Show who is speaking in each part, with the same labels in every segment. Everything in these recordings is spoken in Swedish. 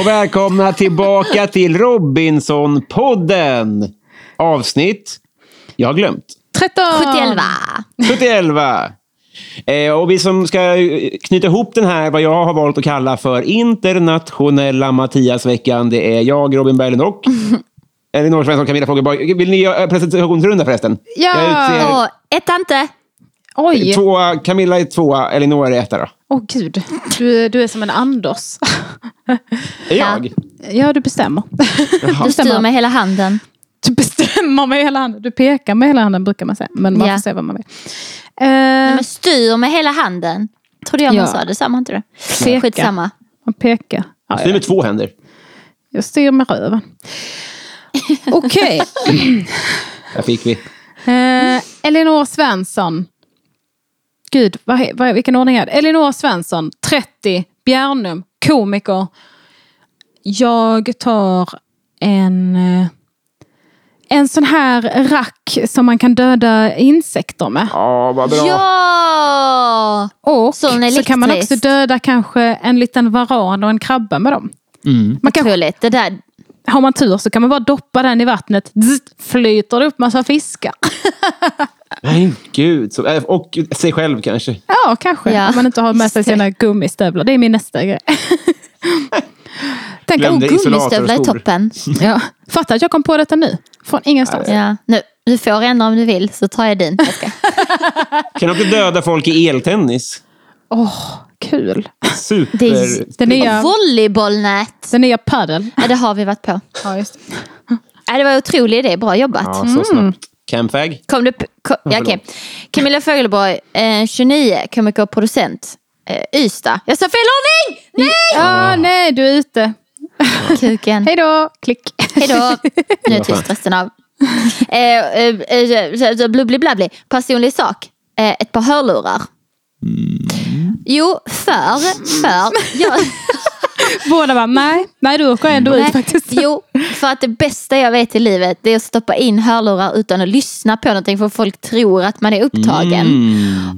Speaker 1: och välkomna tillbaka till Robinson-podden. Avsnitt, jag har glömt,
Speaker 2: 13!
Speaker 3: 71.
Speaker 1: 71. Eh, och vi som ska eh, knyta ihop den här, vad jag har valt att kalla för internationella Mattiasveckan, det är jag, Robin Berglund och är det någon som Camilla Fogelborg? Vill ni göra presentationsrunda förresten?
Speaker 2: Ja!
Speaker 1: Jag utser
Speaker 3: Och ett inte.
Speaker 2: Oj! Åh
Speaker 1: Tvåa, Camilla är tvåa, Elinor är etta då.
Speaker 2: gud, du, är- du är som en Anders.
Speaker 1: Är jag?
Speaker 2: ja, du bestämmer.
Speaker 3: Du styr med hela handen.
Speaker 2: Du bestämmer med hela handen. Du pekar med hela handen brukar man säga. Men man
Speaker 3: Ja.
Speaker 2: får säga vad man vill. Eh,
Speaker 3: Men styr med hela handen. Trodde jag man
Speaker 2: Ja.
Speaker 3: sa det, sa man inte det?
Speaker 2: Peka.
Speaker 3: Skitsamma.
Speaker 2: Man pekar. Ja,
Speaker 1: Styr
Speaker 2: jag,
Speaker 1: med två händer.
Speaker 2: jag styr med röven. Okej.
Speaker 1: Där fick vi.
Speaker 2: Eh, Elinor Svensson. Gud, vad, he- vad, vilken ordning är det? Elinor Svensson, 30, Bjärnum, komiker. Jag tar en, eh, en sån här rack som man kan döda insekter med.
Speaker 1: Ja, vad bra.
Speaker 3: Ja!
Speaker 2: Och
Speaker 3: Sån
Speaker 2: så kan man också
Speaker 3: elektriskt.
Speaker 2: döda kanske en liten varan och en krabba med dem. Man kan,
Speaker 3: Otroligt. Det där.
Speaker 2: har man tur så kan man bara doppa den i vattnet. Zzzt, flyter det upp massa fiskar.
Speaker 1: Nej, gud. Så, eh, och sig själv kanske.
Speaker 2: Ja, kanske.
Speaker 3: Ja.
Speaker 2: Om man inte har med sig sina gummistövlar. Det är min nästa grej. Tänk, oh,
Speaker 1: Glömde
Speaker 2: gud.
Speaker 1: isolator och
Speaker 3: Gummistövlar är
Speaker 1: skor.
Speaker 3: toppen.
Speaker 2: Ja. Fatta att jag kom på detta nu. Från ingenstans.
Speaker 3: Ja. Nu, du får ändra om du vill, så tar jag din. Jag ska.
Speaker 1: Kan också döda folk i eltennis.
Speaker 2: Åh, kul.
Speaker 1: Super.
Speaker 3: Det är-
Speaker 2: Den nya,
Speaker 3: Volleybollnät.
Speaker 2: den nya padel.
Speaker 3: Ja, det har vi varit på.
Speaker 2: Ja, just. det.
Speaker 3: Ja, det var en otrolig idé. Bra jobbat.
Speaker 1: Ja, så
Speaker 3: Mm.
Speaker 1: snabbt. Camfag.
Speaker 3: Kom du, p- ko, ja,
Speaker 1: förlåt.
Speaker 3: okej. Camilla Fogelborg, eh, 29, komiker och producent. Eh, Ystad. Jag sa fel ordning! Nej!
Speaker 2: Ah, nej, du är ute.
Speaker 3: Kuken.
Speaker 2: Hej då. Klick.
Speaker 3: Hej då! Nu är tyst resten av. Eh, eh, eh, Blubbli blabbli. Personlig sak. Eh, ett par hörlurar. Jo, för, för, jag,
Speaker 2: Båda bara, nej, nej du åker ändå ut
Speaker 3: nej,
Speaker 2: faktiskt.
Speaker 3: jo, för att det bästa jag vet i livet det är att stoppa in hörlurar utan att lyssna på någonting för folk tror att man är upptagen.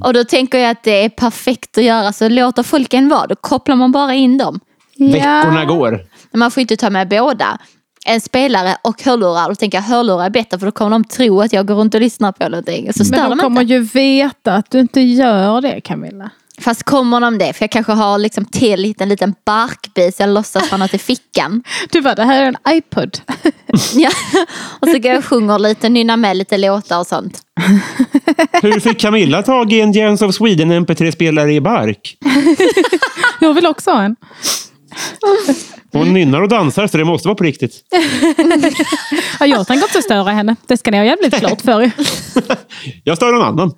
Speaker 3: Och då tänker jag att det är perfekt att göra så låter folk en vara, då kopplar man bara in dem.
Speaker 1: Veckorna går.
Speaker 3: Men man får inte ta med båda. En spelare och hörlurar. Då tänker jag hörlurar är bättre för då kommer de tro att jag går runt och lyssnar på någonting. Så stör
Speaker 2: Men de
Speaker 3: de
Speaker 2: kommer
Speaker 3: inte.
Speaker 2: ju veta att du inte gör det Camilla.
Speaker 3: Fast kommer de det? För jag kanske har liksom tillgett en liten barkbit så jag låtsas ha något i fickan.
Speaker 2: Du bara, det här är en iPod.
Speaker 3: Ja. Och så går jag och sjunger lite, nynnar med lite låtar och sånt.
Speaker 1: Hur fick Camilla tag i en Jens of Sweden MP3-spelare i bark?
Speaker 2: Jag vill också ha en.
Speaker 1: Hon nynnar och dansar, så det måste vara på riktigt.
Speaker 2: Ja, jag tänker inte störa henne. Det ska ni ha jävligt klart för er.
Speaker 1: Jag stör någon annan.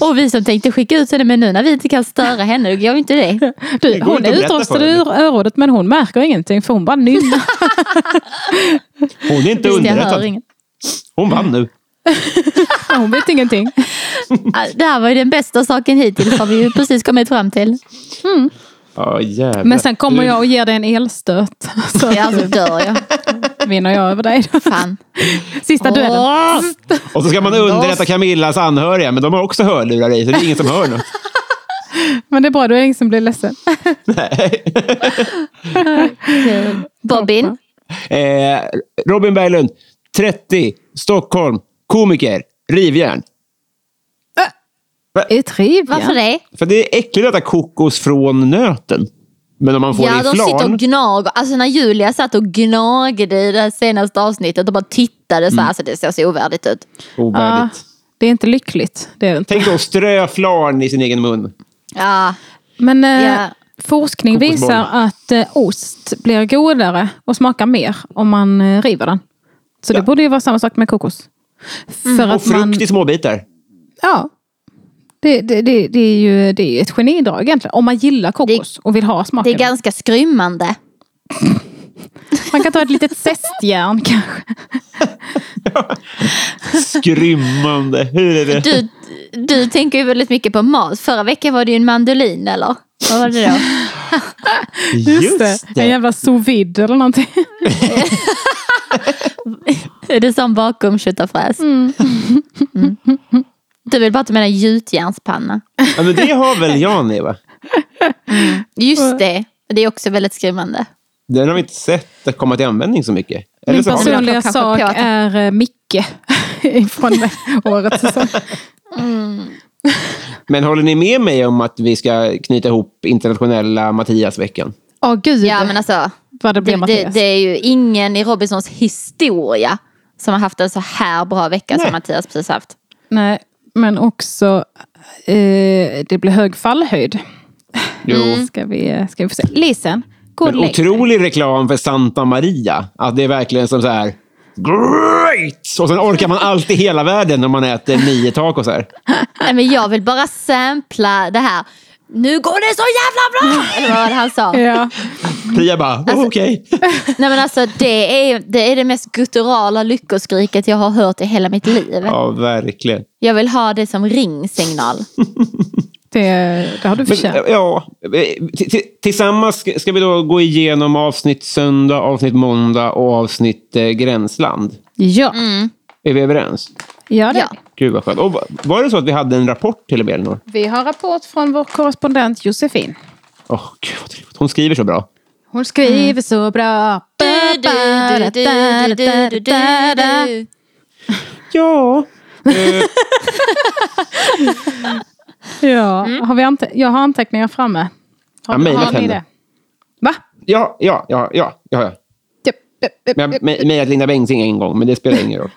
Speaker 3: Och vi som tänkte skicka ut henne men nu när vi inte kan störa henne, då gör vi inte det.
Speaker 2: Du,
Speaker 1: går
Speaker 2: hon
Speaker 1: inte
Speaker 2: är
Speaker 1: att berätta
Speaker 2: utrustad
Speaker 1: för henne.
Speaker 2: ur örådet men hon märker ingenting för hon bara nynnar.
Speaker 1: Hon är inte
Speaker 3: Visst, jag hör
Speaker 1: underrättad.
Speaker 3: ingen.
Speaker 1: Hon vann nu.
Speaker 2: Hon vet ingenting.
Speaker 3: Ja, Det här var ju den bästa saken hittills har vi ju precis kommit fram till.
Speaker 1: Ja, jävlar.
Speaker 2: Men sen kommer jag och ger dig en elstöt. Så
Speaker 3: Ja, alltså. så dör jag.
Speaker 2: vinner jag över dig.
Speaker 3: Fan.
Speaker 2: Sista duellen.
Speaker 3: Åh!
Speaker 1: Och så ska man underrätta Camillas anhöriga, men de har också hörlurar i, så det är ingen som hör något.
Speaker 2: Men det är bra, då är det ingen som blir ledsen.
Speaker 3: Bobbin,
Speaker 1: Eh, Robin Berglund, 30, Stockholm, komiker, rivjärn.
Speaker 2: Det är trevligt.
Speaker 3: varför det?
Speaker 1: För det är äckligt att äta kokos från nöten. Men om man får
Speaker 3: ja,
Speaker 1: det
Speaker 3: de
Speaker 1: i
Speaker 3: sitter och
Speaker 1: flarn.
Speaker 3: gnager. Alltså när Julia satt och gnagde i det här senaste avsnittet och bara tittade
Speaker 1: Mm.
Speaker 3: så här, alltså det såg så ovärdigt ut.
Speaker 2: Ja,
Speaker 1: Ovärdigt.
Speaker 2: det är inte lyckligt. Det är det inte.
Speaker 1: Tänk då att strö flarn i sin egen mun.
Speaker 3: Ja,
Speaker 2: Men eh,
Speaker 3: Ja.
Speaker 2: forskning
Speaker 1: Kokosboll.
Speaker 2: visar att eh, ost blir godare och smakar mer om man eh, river den. Så det borde ju vara samma sak med kokos. För
Speaker 1: Mm. Och frukt i små bitar.
Speaker 2: Ja. Det, det, det, det är ju det är ju ett genidrag egentligen. Om man gillar kokos och vill ha
Speaker 3: det
Speaker 2: smaken.
Speaker 3: är ganska skrymmande.
Speaker 2: Man kan ta ett litet zestjärn kanske.
Speaker 1: Skrymmande. Hur är det?
Speaker 3: Du, du tänker ju väldigt mycket på mat. Förra veckan var det ju en mandolin eller? Vad var det då?
Speaker 2: En jävla sous vide eller någonting.
Speaker 3: Är det sån bakom köttafräs? Mm. Du vill bara att du menar gjutjärnspanna.
Speaker 1: Ja, men det har väl Jani, va?
Speaker 3: Just det. Det är också väldigt skrämmande.
Speaker 1: Den har vi inte sett komma till användning så mycket. Eller
Speaker 2: Min
Speaker 1: så har vi.
Speaker 2: personliga
Speaker 3: Kanske
Speaker 2: sak
Speaker 3: på att-
Speaker 2: är eh, Micke från årets säsong.
Speaker 1: Men håller ni med mig om att vi ska knyta ihop internationella Mattiasveckan?
Speaker 2: Åh gud
Speaker 3: Ja men alltså,
Speaker 2: vad det blir
Speaker 3: det, det,
Speaker 2: Mattias.
Speaker 3: det är ju ingen i Robinsons historia som har haft en så här bra vecka
Speaker 1: Nej.
Speaker 3: som Mattias precis haft.
Speaker 2: Nej, men också eh, det blir hög fallhöjd. Mm.
Speaker 1: Jo.
Speaker 2: Ska vi, eh, ska vi få se. Lisen, gå och
Speaker 1: Men
Speaker 2: lägg dig.
Speaker 1: otrolig reklam för Santa Maria. Att det är verkligen som så här... Great! Och sen orkar man alltid hela världen när man äter nio tacos här.
Speaker 3: Nej men jag vill bara sampla det här. Nu går det så jävla bra! Eller vad var det han sa?
Speaker 2: Ja.
Speaker 1: Pia bara, oh, okej.
Speaker 3: Nej men alltså det är det, är det mest gutturala lyckoskriket jag har hört i hela mitt liv.
Speaker 1: Ja, verkligen.
Speaker 3: Jag vill ha det som ringsignal.
Speaker 2: Det, det har du
Speaker 1: Men, eh,
Speaker 2: förtjänat.
Speaker 1: ja, t- t- tillsammans ska- ska vi då gå igenom avsnitt söndag, avsnitt måndag och avsnitt eh, gränsland.
Speaker 2: Ja,
Speaker 1: Är vi överens?
Speaker 2: ja, det.
Speaker 3: Mm. Ja.
Speaker 1: Gud vad skönt. Och va- var det så att vi hade en rapport till och med? Elinor?
Speaker 2: Vi har rapport från vår korrespondent Josefin.
Speaker 1: Åh, gud vad trevligt. Hon skriver så bra.
Speaker 2: Hon skriver så bra.
Speaker 1: Ja.
Speaker 2: Ja, har vi ante- jag har anteckningar framme. Har,
Speaker 1: Jag mejlat
Speaker 2: har ni
Speaker 1: henne.
Speaker 2: det? Va? Typ,
Speaker 1: Ja, ja, ja, ja. ja.
Speaker 2: Japp, japp, japp,
Speaker 1: Men jag
Speaker 2: japp.
Speaker 1: me- mejlat Linda Bengtzing en gång, men det spelar ingen roll.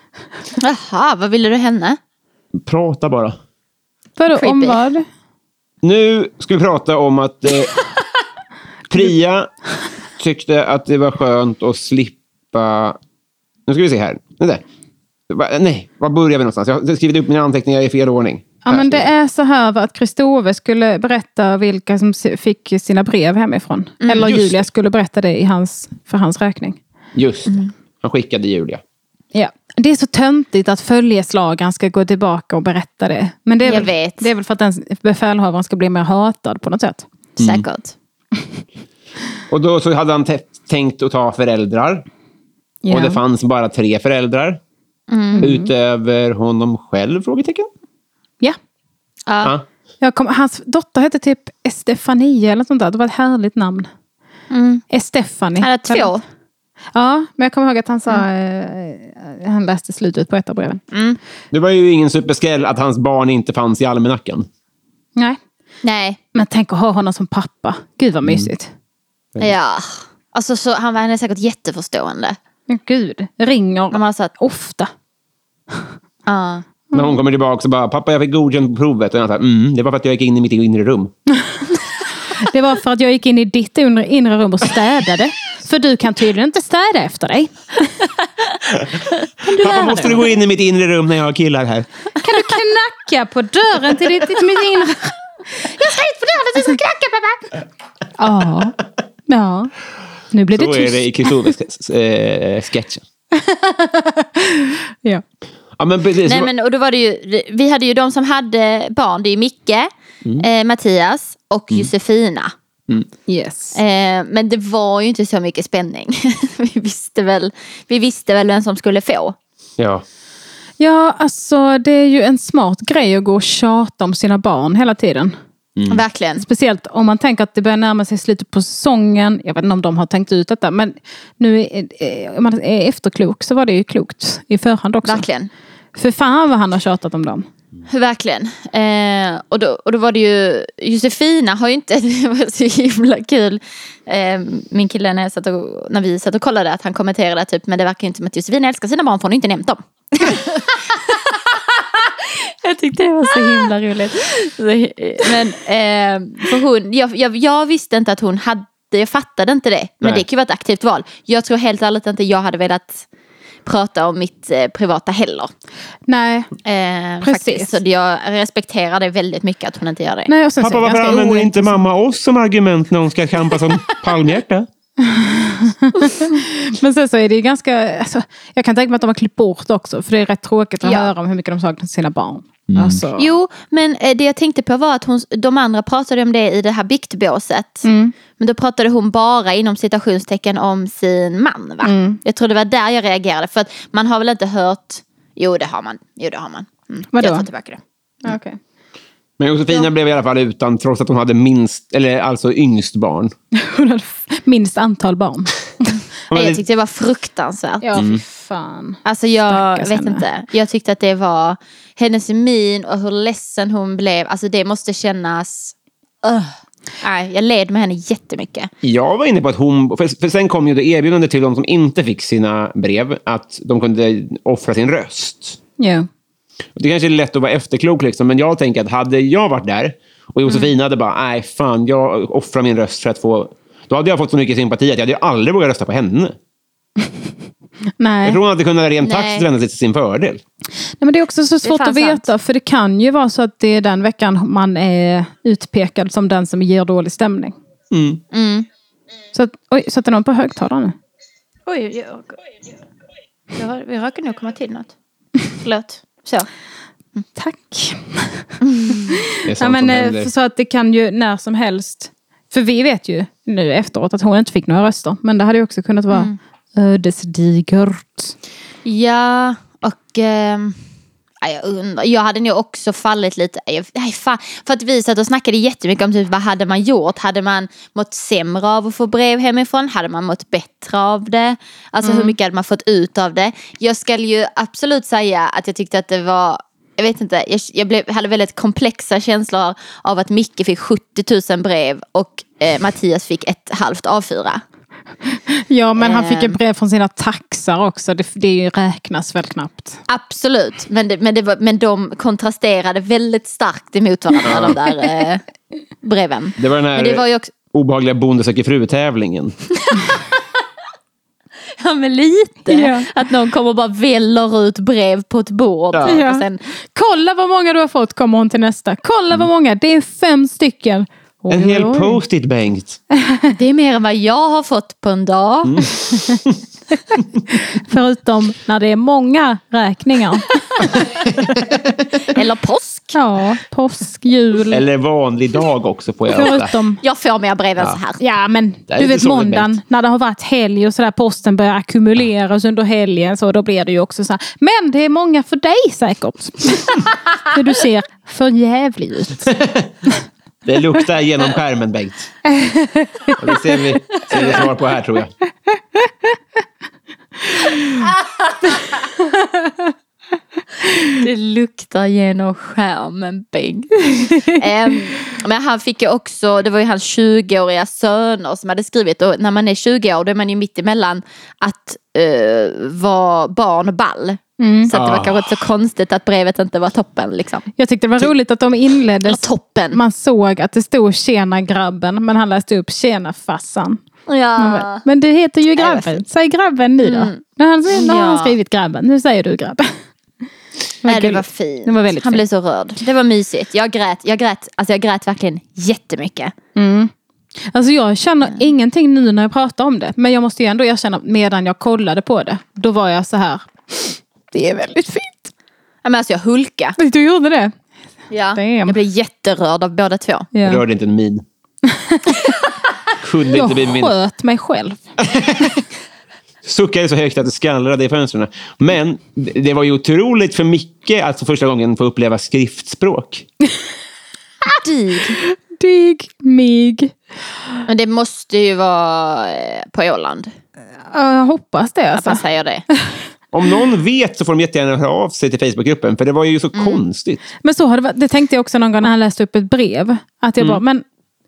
Speaker 3: Jaha, vad ville du henne?
Speaker 1: Prata bara.
Speaker 2: Vadå, om
Speaker 3: creepy.
Speaker 2: vad?
Speaker 1: Nu ska vi prata om att eh, Priya tyckte att det var skönt att slippa... Nu ska vi se här. Nej, där. Va, nej, var börjar vi någonstans? Jag har skrivit upp mina anteckningar i fel ordning.
Speaker 2: Ja,
Speaker 1: Här
Speaker 2: men det
Speaker 1: ska vi-
Speaker 2: är så här va, att Kristove skulle berätta vilka som se- fick sina brev hemifrån. Eller
Speaker 1: Just
Speaker 2: Julia skulle berätta det i hans, för hans räkning.
Speaker 1: Just det.
Speaker 2: Mm.
Speaker 1: Han skickade Julia.
Speaker 2: Ja. Det är så töntigt att följeslagaren ska gå tillbaka och berätta det. Men det är,
Speaker 3: Jag
Speaker 2: väl,
Speaker 3: vet.
Speaker 2: Det är väl för att ens befälhavaren ska bli mer hatad på något sätt.
Speaker 3: Säkert.
Speaker 1: Och då så hade han te- tänkt att ta föräldrar. Och det fanns bara tre föräldrar.
Speaker 2: Mm.
Speaker 1: Utöver honom själv? Frågetecken.
Speaker 2: ja.
Speaker 3: Ja.
Speaker 1: Ja.
Speaker 2: Jag kom, hans dotter hette typ Estefania eller något sånt där. Det var ett härligt namn.
Speaker 3: Mm.
Speaker 2: Estefani.
Speaker 3: Han har två. Mm.
Speaker 2: Ja, men jag kommer ihåg att han sa... Eh, han läste slutet på ett av breven.
Speaker 1: Det var ju ingen superskräll att hans barn inte fanns i almanackan.
Speaker 2: Nej.
Speaker 3: Nej.
Speaker 2: Men tänk att ha honom som pappa. Gud vad mysigt.
Speaker 3: Ja. Alltså, så, han, var- han är säkert jätteförstående.
Speaker 2: Men gud. Ringer
Speaker 3: De har satt,
Speaker 2: ofta.
Speaker 3: ja.
Speaker 1: När
Speaker 3: Mm.
Speaker 1: hon kommer tillbaka och bara “pappa, jag fick godkänt på provet”. Och jag säger mm, “det var för att jag gick in i mitt inre rum”.
Speaker 2: Det var för att jag gick in i ditt inre, inre rum och städade. För du kan tydligen inte städa efter dig.
Speaker 1: “Pappa, måste du gå in i mitt inre rum när jag har killar här?”
Speaker 2: Kan du knacka på dörren till ditt, till mitt inre... Jag ska hit på dörren, du ska
Speaker 3: Alltså-
Speaker 2: knacka pappa! Ja. Ja. Nu blir det
Speaker 1: Så är
Speaker 2: tyst.
Speaker 1: det i Kristoffers eh, sketchen.
Speaker 2: Ja.
Speaker 1: Ja, men precis.
Speaker 3: Nej, men, och då var det ju, vi hade ju de som hade barn. Det är ju Micke, Mm. eh, Mattias och Josefina.
Speaker 2: Yes.
Speaker 3: Eh, men det var ju inte så mycket spänning. vi, visste väl, vi visste väl vem som skulle få.
Speaker 1: Ja.
Speaker 3: Alltså,
Speaker 2: Ja, alltså det är ju en smart grej att gå och tjata om sina barn hela tiden.
Speaker 3: Verkligen.
Speaker 2: Speciellt om man tänker att det börjar närma sig slutet på säsongen. Jag vet inte om de har tänkt ut detta, men nu är- eh, om man är efterklok så var det ju klokt i förhand också.
Speaker 3: Verkligen.
Speaker 2: För fan vad han har tjatat om dem.
Speaker 3: Verkligen. Eh, och, då, och då var det ju, Josefina har ju inte, det var så himla kul. Eh, min kille när, jag satt och, när vi satt och kollade att han kommenterade typ, men det verkar ju inte som att Josefina älskar sina barn för hon har inte nämnt dem.
Speaker 2: Jag tyckte det var så himla roligt.
Speaker 3: Så, eh, Men, eh, för hon, jag, jag, jag visste inte att hon hade, jag fattade inte det. Men
Speaker 1: Nej.
Speaker 3: det kan ju vara ett aktivt val. Jag tror helt ärligt inte jag hade velat prata om mitt eh, privata heller.
Speaker 2: Nej,
Speaker 3: Eh,
Speaker 2: Precis.
Speaker 3: faktiskt. Så jag respekterar det väldigt mycket att hon inte gör det.
Speaker 2: nej och sen
Speaker 1: Pappa,
Speaker 2: så är det
Speaker 1: varför
Speaker 2: ganska
Speaker 1: använder
Speaker 2: oint-
Speaker 1: inte mamma oss som argument när hon ska kämpa som palmhjärta?
Speaker 2: Men sen så är det ju ganska... Alltså, jag kan tänka mig att de har klippt bort också, för det är rätt tråkigt att
Speaker 3: Ja.
Speaker 2: höra om hur mycket de saknar sina barn.
Speaker 1: Mm.
Speaker 2: Alltså,
Speaker 3: Jo, men eh, det jag tänkte på var att hon, de andra pratade om det i det här biktbåset.
Speaker 2: Mm.
Speaker 3: Men då pratade hon bara inom citationstecken om sin man. Va?
Speaker 2: Mm.
Speaker 3: Jag tror det var där jag reagerade. För att man har väl inte hört... Jo, det har man. Jo, det har man. Mm.
Speaker 2: Vadå?
Speaker 3: Jag tar tillbaka det.
Speaker 2: Ja, okej.
Speaker 1: Men Josefina
Speaker 3: Ja.
Speaker 1: blev i alla fall utan, trots att hon hade minst, eller alltså yngst barn.
Speaker 2: Hon hade f- minst antal barn.
Speaker 1: Hon
Speaker 3: Nej,
Speaker 1: hade-
Speaker 3: jag tyckte det var fruktansvärt.
Speaker 2: Ja,
Speaker 1: Mm.
Speaker 2: fy fan.
Speaker 3: Alltså jag
Speaker 2: Stackars
Speaker 3: vet
Speaker 2: henne.
Speaker 3: inte. Jag tyckte att det var hennes min och hur ledsen hon blev. Alltså det måste kännas... Ugh. Nej, jag led med henne jättemycket.
Speaker 1: Jag var inne på att hon... För, för sen kom ju det erbjudande till de som inte fick sina brev att de kunde offra sin röst.
Speaker 2: Jo.
Speaker 1: Och Det kanske är lätt att vara efterklok, liksom, men jag tänker att hade jag varit där och Josefina
Speaker 2: Mm.
Speaker 1: hade bara, nej fan, jag offrar min röst för att få... Då hade jag fått så mycket sympati att jag hade ju aldrig vågat rösta på henne. Jag
Speaker 2: Nej.
Speaker 1: tror hon hade kunnat rent
Speaker 3: Nej.
Speaker 1: taktiskt vända sig till sin fördel.
Speaker 2: Nej, men det är också så svårt
Speaker 3: fan
Speaker 2: att veta, för det kan ju vara så att det är den veckan man är utpekad som den som ger dålig stämning.
Speaker 3: Mm.
Speaker 2: Så att, oj, satte någon på högtalaren nu?
Speaker 3: Oj, jag, jag, vi röker nog komma till något. Förlåt. Så.
Speaker 2: Tack.
Speaker 1: Det är sånt
Speaker 2: Ja,
Speaker 1: som
Speaker 2: men,
Speaker 1: händer.
Speaker 2: eh, för så att det kan ju när som helst. För vi vet ju nu efteråt att hon inte fick några röster. Men det hade ju också kunnat vara
Speaker 1: Mm.
Speaker 2: ödesdigert.
Speaker 3: Ja, och... ehm, ja, jag undrar. Jag hade nog också fallit lite... Jag, nej, fan. För att vi satt och snackade jättemycket om typ, vad hade man gjort? Hade man mått sämre av att få brev hemifrån? Hade man mått bättre av det? Alltså hur mycket hade man fått ut av det? Jag ska ju absolut säga att jag tyckte att det var... Jag vet inte, jag, jag blev, hade väldigt komplexa känslor av att Micke fick 70 000 brev och eh, Mattias fick ett halvt A4.
Speaker 2: Ja, men han
Speaker 1: Eh.
Speaker 2: fick ju
Speaker 3: Ehm.
Speaker 2: brev från sina taxar också. Det, det är ju räknas väl knappt.
Speaker 3: Absolut, men, det, men, det var, men de kontrasterade väldigt starkt emot varandra de där eh, breven.
Speaker 1: det var den här
Speaker 3: Men det var ju också,
Speaker 1: obehagliga Bonde söker fru-tävlingen.
Speaker 3: ja men lite,
Speaker 2: Ja.
Speaker 3: att någon kommer och bara väller ut brev på ett bord.
Speaker 1: Ja.
Speaker 3: typ, Och sen,
Speaker 2: Kolla vad många du har fått, kommer hon till nästa. Kolla vad många, det är fem stycken. Oj,
Speaker 1: Mm. En hel
Speaker 2: oj.
Speaker 1: post-it, Bengt.
Speaker 2: Mm.
Speaker 3: det är mer än vad jag har fått på en dag.
Speaker 1: Mm.
Speaker 2: Förutom när det är många räkningar.
Speaker 3: Eller påsk.
Speaker 2: ja, påsk, jul.
Speaker 1: Eller vanlig dag också, får jag rösta.
Speaker 2: Förutom...
Speaker 3: Jag får mer brev än
Speaker 1: Ja.
Speaker 3: så här.
Speaker 2: Ja, men
Speaker 1: är
Speaker 2: du
Speaker 1: lite
Speaker 2: vet
Speaker 1: sorgligt,
Speaker 2: måndagen
Speaker 1: Bengt.
Speaker 2: när det har varit helg och sådär. Posten börjar ackumuleras under helgen. Så då blir det ju också så här. Men det är många för dig säkert. för du ser för jävlig ut.
Speaker 1: Det luktar genom skärmen, Bengt. Och det ser vi, ser vi svar på här, tror jag.
Speaker 3: Det luktar genom skärmen Bengt. Ehm, men han fick ju också, det var ju hans 20-åriga söner som hade skrivit och när man är 20 år då är man ju mitt emellan att eh, vara barn och ball.
Speaker 2: Mm.
Speaker 3: Så att det var
Speaker 1: Ah.
Speaker 3: kanske inte så konstigt att brevet inte var toppen liksom.
Speaker 2: Jag tyckte det var roligt att de
Speaker 3: Eller
Speaker 2: inleddes.
Speaker 3: toppen.
Speaker 2: Man såg att det stod tjena grabben. Men han läste upp tjena fassan.
Speaker 3: Ja.
Speaker 2: Men du heter ju
Speaker 3: vad
Speaker 2: grabben. Säg grabben nu då. När han, när har han
Speaker 3: Mm. Ja.
Speaker 2: skrivit grabben. Nu säger du grabben.
Speaker 3: Nej, det
Speaker 2: gulligt.
Speaker 3: var fint.
Speaker 2: Det var väldigt
Speaker 3: han
Speaker 2: fint.
Speaker 3: blev så rörd. Det var mysigt. Jag grät, jag grät, alltså jag grät verkligen jättemycket.
Speaker 2: Alltså jag känner ingenting nu när jag pratar om det. Men jag måste ju ändå erkänna, medan jag kollade på det, då var jag så här. Det är väldigt fint.
Speaker 3: Ja, men alltså jag hulka.
Speaker 2: Du gjorde det?
Speaker 3: Ja.
Speaker 2: Damn.
Speaker 3: Jag blev jätterörd av båda två.
Speaker 2: Ja.
Speaker 1: Rörde inte en min. Kunde inte bli
Speaker 2: Jag
Speaker 1: min.
Speaker 2: sköt mig själv.
Speaker 1: Suckade så högt att det skallrade i fönstren. Men det det var ju otroligt för Micke att för första gången få uppleva skriftspråk.
Speaker 3: Dig.
Speaker 2: Dig, mig.
Speaker 3: Men det måste ju vara eh, på Åland.
Speaker 2: Jag hoppas det
Speaker 3: Att man
Speaker 2: alltså.
Speaker 3: säger det.
Speaker 1: Om någon vet så får de jättegärna höra av sig till Facebookgruppen, för det var ju så
Speaker 2: Mm.
Speaker 1: konstigt.
Speaker 2: Men så har det, varit- det tänkte jag också någon gång när han läste upp ett brev. Att jag bara,
Speaker 1: Mm.
Speaker 2: men,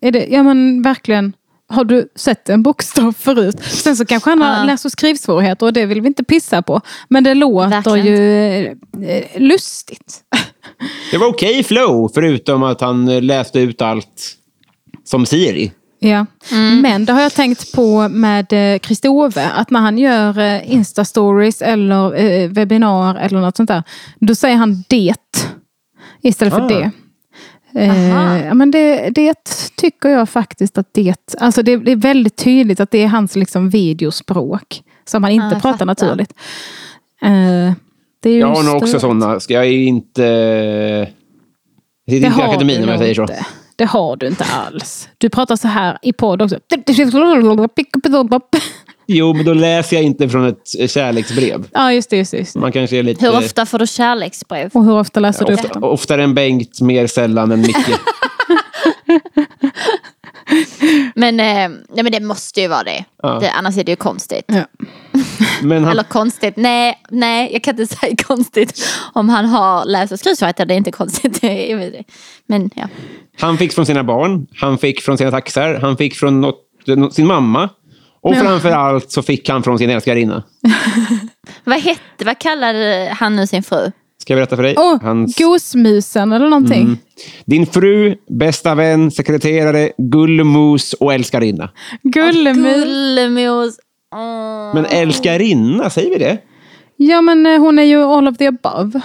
Speaker 2: är det, ja men verkligen. Har du sett en bokstav förut? Sen så kanske han har
Speaker 3: Ja.
Speaker 2: läs och skrivsvårigheter och det vill vi inte pissa på. Men det låter
Speaker 3: Verkligen
Speaker 2: ju eh, lustigt.
Speaker 1: Det var okej flow, förutom att han eh, läste ut allt som Siri.
Speaker 2: Ja,
Speaker 3: Mm.
Speaker 2: men det har jag tänkt på med eh, Kristove. Att när han gör eh, Insta-stories eller eh, webbinar eller något sånt där. Då säger han det istället för
Speaker 1: Ah.
Speaker 2: det. Eh, ja, men det, det tycker jag faktiskt att det... Alltså det, det är väldigt tydligt att det är hans liksom, videospråk. Som han inte
Speaker 3: Ah, jag
Speaker 2: pratar
Speaker 3: fattar.
Speaker 2: naturligt. Eh, det är ju
Speaker 1: Jag har nog också
Speaker 2: stört.
Speaker 1: sådana. Ska jag är inte... Jag sitter
Speaker 2: Det
Speaker 1: inte i
Speaker 2: har du
Speaker 1: akademin om jag
Speaker 2: nog
Speaker 1: säger så.
Speaker 2: inte. Det har du inte alls. Du pratar så här i podd också.
Speaker 1: Jo, men då läser jag inte från ett kärleksbrev.
Speaker 2: Ja, just det. Just det, just det.
Speaker 1: Man kanske är lite...
Speaker 3: Hur ofta får du kärleksbrev?
Speaker 2: Och hur ofta läser du upp
Speaker 1: Ofta,
Speaker 2: dem?
Speaker 1: oftare än Bengt, mer sällan än Micke.
Speaker 3: Men, eh, nej, men det måste ju vara det. det annars är det ju konstigt.
Speaker 2: Ja.
Speaker 1: Men han,
Speaker 3: Eller konstigt, nej, nej, jag kan inte säga konstigt. Om han har läs och skrivsvårigheter, det är inte konstigt. Jag vet det. Men ja.
Speaker 1: han fick från sina barn, han fick från sina taxar, han fick från något, nå- sin mamma. Och framför allt så fick han från sin älskarinna.
Speaker 3: Vad hette, vad kallade han nu sin fru?
Speaker 1: Ska jag berätta för dig?
Speaker 2: Åh,
Speaker 1: Hans, Mm.
Speaker 2: gosmusen eller någonting.
Speaker 1: din fru, bästa vän, sekreterare, gullemos och älskarinna.
Speaker 2: Gullemus.
Speaker 3: Gullemos. Åh.
Speaker 1: Men älskarinna, säger vi det?
Speaker 2: Ja, men eh, hon är ju all of the above.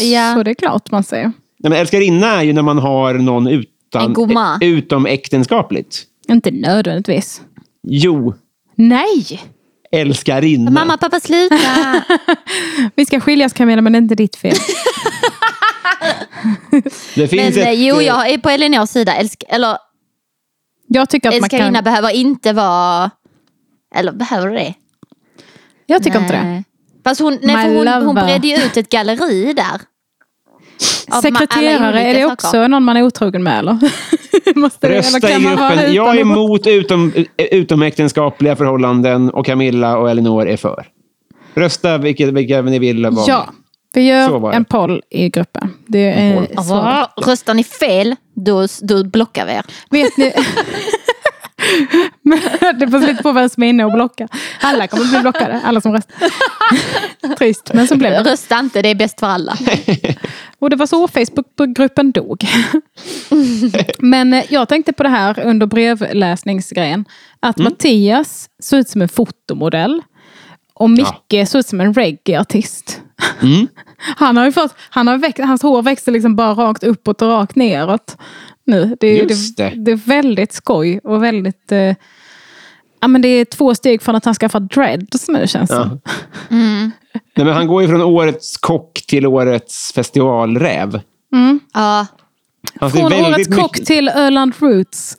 Speaker 3: Ja.
Speaker 2: Så det är klart man säger.
Speaker 1: Nej, men älskarinna är ju när man har någon utan,
Speaker 3: En gumma.
Speaker 1: eh, utomäktenskapligt.
Speaker 2: Inte nödvändigtvis.
Speaker 1: Jo,
Speaker 2: Nej!
Speaker 1: älskarinna.
Speaker 3: Mamma, pappa, sluta!
Speaker 2: Vi ska skiljas Camilla, men det är inte ditt fel.
Speaker 1: Det
Speaker 3: Men
Speaker 1: finns
Speaker 3: eh,
Speaker 1: ett,
Speaker 3: jo,
Speaker 1: eh,
Speaker 3: jag är på Elinors sida. Älsk, eller
Speaker 2: Jag tycker att man
Speaker 3: älskarinna
Speaker 2: kan...
Speaker 3: behöver inte vara... Eller behöver du det?
Speaker 2: Jag tycker inte det.
Speaker 3: Fast hon, nej,
Speaker 2: My
Speaker 3: för hon, hon
Speaker 2: lover.
Speaker 3: bredde ju ut ett galleri där. Av ma- alla
Speaker 2: Sekreterare, är det
Speaker 3: olika
Speaker 2: också
Speaker 3: saker.
Speaker 2: någon man är otrogen med eller? Måste det- eller
Speaker 1: Rösta i
Speaker 2: kan man vara
Speaker 1: gruppen.
Speaker 2: utan
Speaker 1: Jag är
Speaker 2: att-
Speaker 1: emot utom, eh, utomäktenskapliga förhållanden och Camilla och Elinor är för. Rösta vilka, vilka ni vill vara
Speaker 2: Ja,
Speaker 1: med.
Speaker 2: vi
Speaker 1: Så var
Speaker 2: gör
Speaker 1: det.
Speaker 2: en poll i gruppen. Det
Speaker 1: En Alltså,
Speaker 2: är svaret.
Speaker 3: Röstar ni fel, då, då blockar vi er.
Speaker 2: Vet ni... Men det beror lite på vem som är inne och blockar. Alla kommer bli blockade, alla som röstar. Trist, men så blev det.
Speaker 3: Rösta inte, det är bäst för alla.
Speaker 2: Och det var så Facebookgruppen dog. Men eh, jag tänkte på det här under brevläsningsgrejen. Att
Speaker 1: Mm.
Speaker 2: Mattias såg ut som en fotomodell. Och Micke såg ut som en reggaeartist.
Speaker 1: Mm.
Speaker 2: Han har ju fått, han har växt, hans hår växer liksom bara rakt uppåt och rakt neråt. Nu. Det, är,
Speaker 1: Just det.
Speaker 2: det. det är väldigt skoj och väldigt... Eh, ja, men det är två steg från att han ska få dreads nu känns det som. Mm.
Speaker 1: Nej, men han går ju från årets kock till årets festivalräv.
Speaker 3: Ja,
Speaker 1: Han ser
Speaker 2: Från
Speaker 1: Alltså, väldigt
Speaker 2: Årets kock
Speaker 1: mycket-
Speaker 2: till Öland Roots.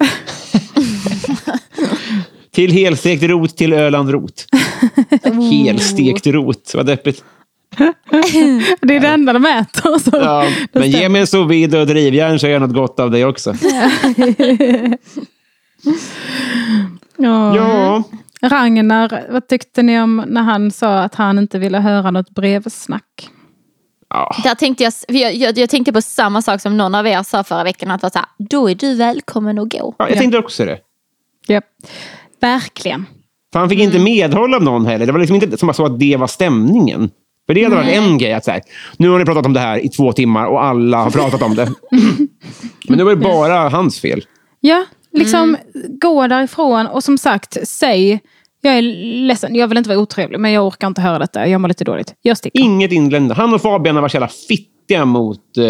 Speaker 1: Till helstekt rot till Öland rot. helstekt rot, vad deppigt.
Speaker 2: Det är det enda de äter. Så.
Speaker 1: Ja, men ge mig en sous vide och drivjärn så gör jag något gott av dig också.
Speaker 2: Ja.
Speaker 1: Ja,
Speaker 2: Ragnar, vad tyckte ni om när han sa att han inte ville höra något brevsnack?
Speaker 1: ja.
Speaker 3: där tänkte jag, för jag, jag, jag tänkte på samma sak som någon av er sa förra veckan. Att vara så här, då är du välkommen att gå.
Speaker 1: ja jag tänkte också det.
Speaker 2: Ja. Verkligen.
Speaker 1: För han fick
Speaker 2: Mm.
Speaker 1: inte medhåll av någon heller. Det var liksom inte som så att det var stämningen. För det hade varit en grej att så här, nu har ni pratat om det här i två timmar och alla har pratat om det. Men det var ju bara hans fel.
Speaker 2: Ja, liksom gå därifrån och som sagt, säg jag är ledsen, jag vill inte vara otrevlig men jag orkar inte höra detta, jag mår lite dåligt. Jag sticker.
Speaker 1: Inget inländande. Han och Fabian har varit så jävla fittiga mot eh,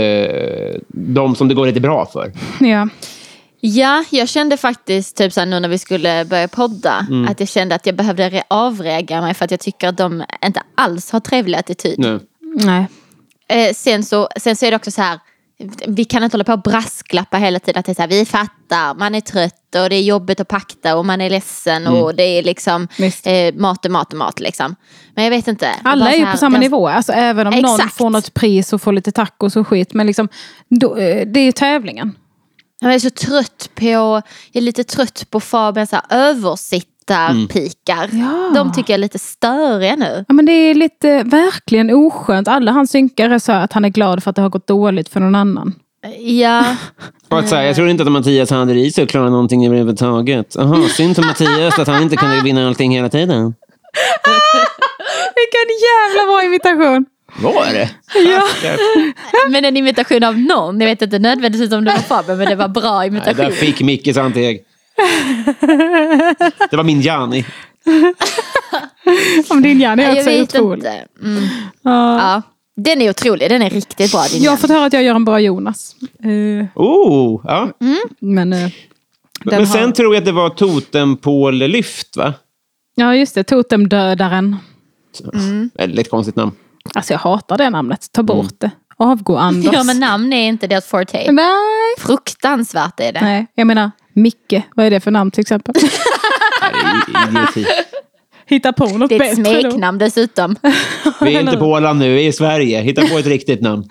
Speaker 1: de som det går lite bra för.
Speaker 2: Ja.
Speaker 3: Ja, jag kände faktiskt typ så här, nu när vi skulle börja podda.
Speaker 2: Mm.
Speaker 3: Att jag kände att jag behövde re- avreagera mig för att jag tycker att de inte alls har trevlig attityd.
Speaker 1: Nu.
Speaker 2: Nej.
Speaker 3: Eh, sen, så, sen så är det också så här. Vi kan inte hålla på och brasklappa hela tiden. Att det är så här, vi fattar, man är trött och det är jobbigt att pakta och man är ledsen och det är liksom
Speaker 2: Mm. Visst.
Speaker 3: eh, mat och mat och mat liksom. Men jag vet inte. Bara
Speaker 2: Alla är
Speaker 3: så
Speaker 2: ju
Speaker 3: här,
Speaker 2: på samma
Speaker 3: den-
Speaker 2: nivå, alltså, även om någon
Speaker 3: Exakt.
Speaker 2: får något pris och får lite tacos och skit. Men liksom, då, eh, det är ju tävlingen.
Speaker 3: Jag är så trött på, jag är lite trött på Fabians så här översittarpikar.
Speaker 2: Mm. Ja.
Speaker 3: De tycker jag är lite störiga nu.
Speaker 2: Ja, men det är lite verkligen oskönt. Alla hans synkar är så här att han är glad för att det har gått dåligt för någon annan.
Speaker 3: Ja,
Speaker 1: Och att, så här, jag tror inte att Mattias hade i sig att klara någonting överhuvudtaget. Jaha, synd för Mattias att han inte kunde vinna allting hela tiden.
Speaker 2: Vilken jävla bra invitation!
Speaker 1: Var det?
Speaker 2: Ja.
Speaker 3: men en imitation av någon. Jag vet inte nödvändigtvis om det var Fabian men det var bra
Speaker 1: Nej, där
Speaker 3: imitation.
Speaker 1: fick Micke Santeg. Det var min Jani.
Speaker 2: Om din hjärna
Speaker 3: jag
Speaker 2: är så
Speaker 3: vet
Speaker 2: otrolig.
Speaker 3: inte. Mm.
Speaker 2: Ja.
Speaker 3: Ja. Den är otrolig, den är riktigt bra din
Speaker 2: Jag har fått höra att jag gör en bra Jonas. Eh,
Speaker 1: Oh, ja.
Speaker 2: Men, eh, den
Speaker 1: Men sen
Speaker 2: har...
Speaker 1: tror jag att det var totempållyft, va?
Speaker 2: Ja, just det. Totemdödaren. Mm.
Speaker 1: Väldigt konstigt namn.
Speaker 2: Alltså jag hatar det namnet.
Speaker 1: Mm.
Speaker 2: Ta bort det. Avgå Anders.
Speaker 3: Ja men namn är inte deras forte.
Speaker 2: Nej.
Speaker 3: Fruktansvärt är det.
Speaker 2: Nej, jag menar Micke. Vad är det för namn till exempel?
Speaker 1: Det är idioti.
Speaker 2: hitta på något
Speaker 3: Det är ett
Speaker 2: bättre då.
Speaker 3: smeknamn dessutom.
Speaker 1: Vi är inte på Åland nu, vi är i Sverige. Hitta på ett riktigt namn.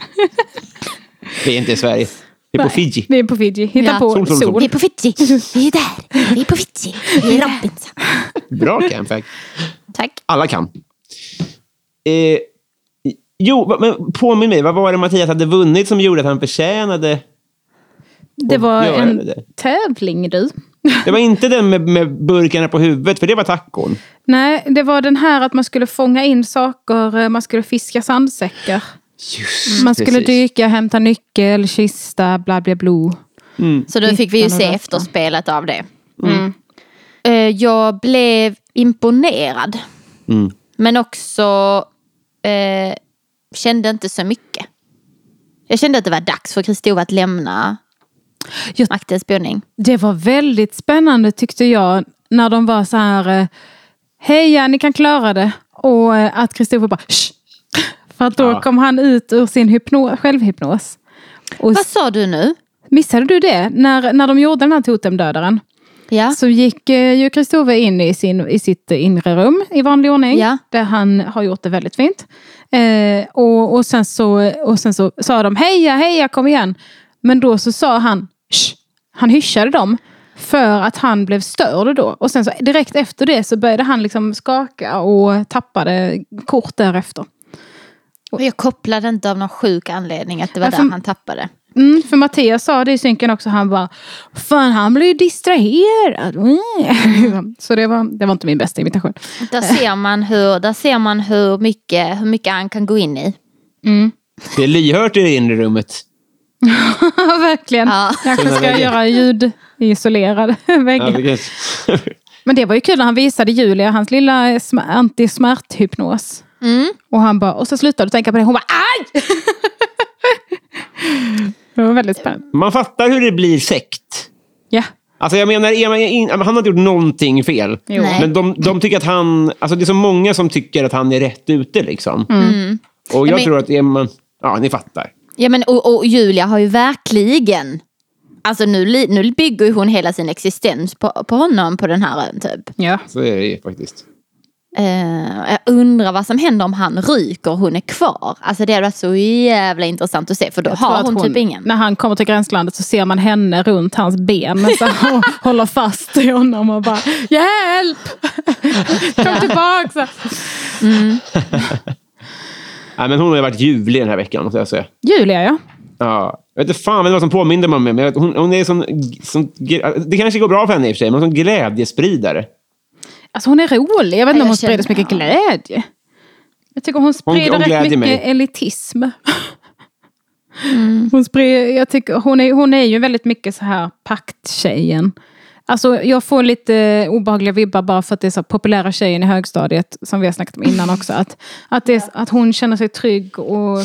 Speaker 1: Vi är inte i Sverige. Vi är på
Speaker 2: Nej,
Speaker 1: Fiji.
Speaker 2: Vi är på Fiji. Hitta
Speaker 3: Ja.
Speaker 2: på
Speaker 1: Sol, sol, sol.
Speaker 3: Vi
Speaker 2: sol.
Speaker 3: är på Fiji. Vi är där. Vi är på Fiji. Vi är Robinson.
Speaker 1: Bra camphack.
Speaker 3: Tack.
Speaker 1: Alla kan. Eh, jo, va- men påminn mig. Vad var det Mattias hade vunnit som gjorde att han förtjänade?
Speaker 2: Det var
Speaker 1: Ja,
Speaker 2: en
Speaker 1: det.
Speaker 2: tävling du.
Speaker 1: Det var inte den med, med burkarna på huvudet, för det var tacon.
Speaker 2: Nej, det var den här att man skulle fånga in saker, eh, man skulle fiska sandsäckar.
Speaker 1: Just
Speaker 2: Man skulle
Speaker 1: Mm. precis.
Speaker 2: dyka, hämta nyckel, kista, bla bla bla.
Speaker 3: Så då fick vi ju
Speaker 2: Hittan och
Speaker 3: se
Speaker 2: rötan.
Speaker 3: efterspelet av det. Mm. Eh, Jag blev imponerad.
Speaker 1: Mm.
Speaker 3: Men också eh, kände inte så mycket. Jag kände att det var dags för Kristove att lämna
Speaker 2: Jag-
Speaker 3: maktens boning.
Speaker 2: Det var väldigt spännande tyckte jag när de var så här eh, Heja, ni kan klara det. Och eh, att Kristoffer bara Shh! För att då
Speaker 1: Ja.
Speaker 2: kom han ut ur sin hypno- självhypnos. Och
Speaker 3: Vad sa du nu?
Speaker 2: missade du det? När, när de gjorde den här totemdödaren
Speaker 3: Ja.
Speaker 2: så gick eh, ju Kristoffer in i, sin, i sitt inre rum i vanlig ordning.
Speaker 3: Ja.
Speaker 2: Där han har gjort det väldigt fint. Eh, och, och, sen så, och sen så sa de heja, heja, kom igen. Men då så sa han Shh! Han hyschade dem. För att han blev störd då. Och sen så direkt efter det så började han liksom skaka och tappade kort därefter.
Speaker 3: Och jag kopplade inte av någon sjuk anledning att det var
Speaker 2: Varför-
Speaker 3: där han tappade.
Speaker 2: Mm, för Mattias sa det i synken också. Han bara, fan han blir ju distraherad. Mm. Så det var, det var inte min bästa imitation.
Speaker 3: Där ser man hur, där ser man hur, mycket, hur mycket han kan gå in i.
Speaker 1: Det är lyhört i det inre rummet.
Speaker 2: Ja, verkligen.
Speaker 3: Ja.
Speaker 2: Kanske
Speaker 1: Sådana
Speaker 2: ska jag
Speaker 1: väggar.
Speaker 2: göra ljudisolerade
Speaker 1: Ja,
Speaker 2: väggar.
Speaker 1: vilken-
Speaker 2: Men det var ju kul när han visade Julia hans lilla sm- antismärthypnos.
Speaker 3: Mm.
Speaker 2: Och han bara, och så slutade du tänka på det. Hon bara, aj! det var väldigt spännande.
Speaker 1: Man fattar hur det blir sekt.
Speaker 2: Ja.
Speaker 1: Alltså jag menar, är man in- han har inte gjort någonting fel.
Speaker 2: Jo.
Speaker 3: Nej.
Speaker 1: Men de, de tycker att han... Alltså det är så många som tycker att han är rätt ute. liksom. Och jag
Speaker 3: Mm. men-
Speaker 1: tror att är man... Ja, ni fattar.
Speaker 3: Ja men och, och Julia har ju verkligen Alltså nu, li- nu bygger ju hon hela sin existens på, på honom på den här ön typ.
Speaker 2: Ja.
Speaker 1: Så är det ju faktiskt.
Speaker 3: Eh, jag undrar vad som händer om han ryker och hon är kvar. Alltså det hade varit så jävla intressant att se för då
Speaker 2: tror
Speaker 3: har
Speaker 2: att
Speaker 3: hon, typ ingen.
Speaker 2: När han kommer till gränslandet så ser man henne runt hans ben så här, och håller fast i honom och bara Hjälp! Kom tillbaka!
Speaker 1: Nej, men hon har ju varit ljuvlig den här veckan, måste jag säga.
Speaker 2: Julia ja.
Speaker 1: Ja. Jag vet inte fan vad det var som påminde mig om det, men jag- hon, hon är sån, sån... Det kanske går bra för henne i och för sig, men hon är sån glädjespridare.
Speaker 2: Alltså hon är rolig. Jag vet inte
Speaker 3: Jag
Speaker 2: om hon
Speaker 3: känner-
Speaker 2: sprider så mycket glädje. Jag tycker hon sprider
Speaker 1: hon
Speaker 2: rätt
Speaker 1: glädjer
Speaker 2: mycket
Speaker 1: mig.
Speaker 2: elitism. Hon, sprider, jag tycker, hon, är, hon är ju väldigt mycket så här pakttjejen. Alltså jag får lite obehagliga vibbar bara för att det är så här populära tjejen i högstadiet som vi har snackat om innan också. Att, att, det, är- att hon känner sig trygg och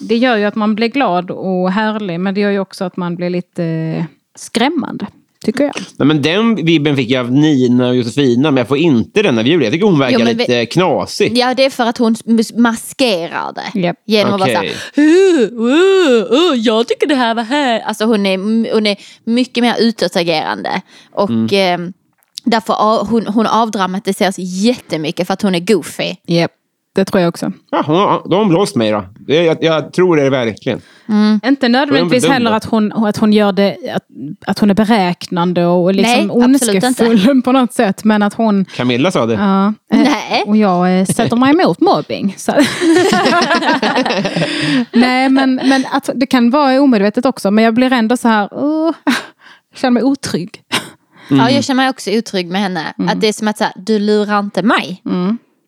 Speaker 2: det gör ju att man blir glad och härlig men det gör ju också att man blir lite skrämmande. Tycker jag.
Speaker 1: Nej, men den vibben fick jag av Nina och Josefina, men jag får inte den av Julia. Jag tycker hon verkar
Speaker 3: Jo, men vi-
Speaker 1: lite knasig.
Speaker 3: Ja det är för att hon mas- maskerar det.
Speaker 2: Japp.
Speaker 3: Genom att
Speaker 1: Okej.
Speaker 3: vara såhär, uh, uh, uh, jag tycker det här var här. Alltså hon är, hon är mycket mer utåtagerande. Och eh, därför av, hon, hon avdramatiseras jättemycket för att hon är goofy.
Speaker 2: Yep. Det tror jag också.
Speaker 1: Ja, hon har, då har hon blåst mig då. Det- Jag, jag tror det verkligen.
Speaker 2: Inte nödvändigtvis
Speaker 1: Då är hon
Speaker 2: heller
Speaker 1: dum då.
Speaker 2: att hon, att hon gör det, att, att hon är beräknande och liksom
Speaker 3: Nej, absolut
Speaker 2: ondskefull på något sätt. Men att hon,
Speaker 1: Camilla sa det.
Speaker 2: ja. eh,
Speaker 3: Nej.
Speaker 2: Och jag eh, sätter mig emot mobbing. Så. Nej, men, men att, det kan vara omedvetet också. Men jag blir ändå så här, åh, känner mig otrygg.
Speaker 3: Ja, jag känner mig också otrygg med henne. Att det är som att så här, du lurar inte mig.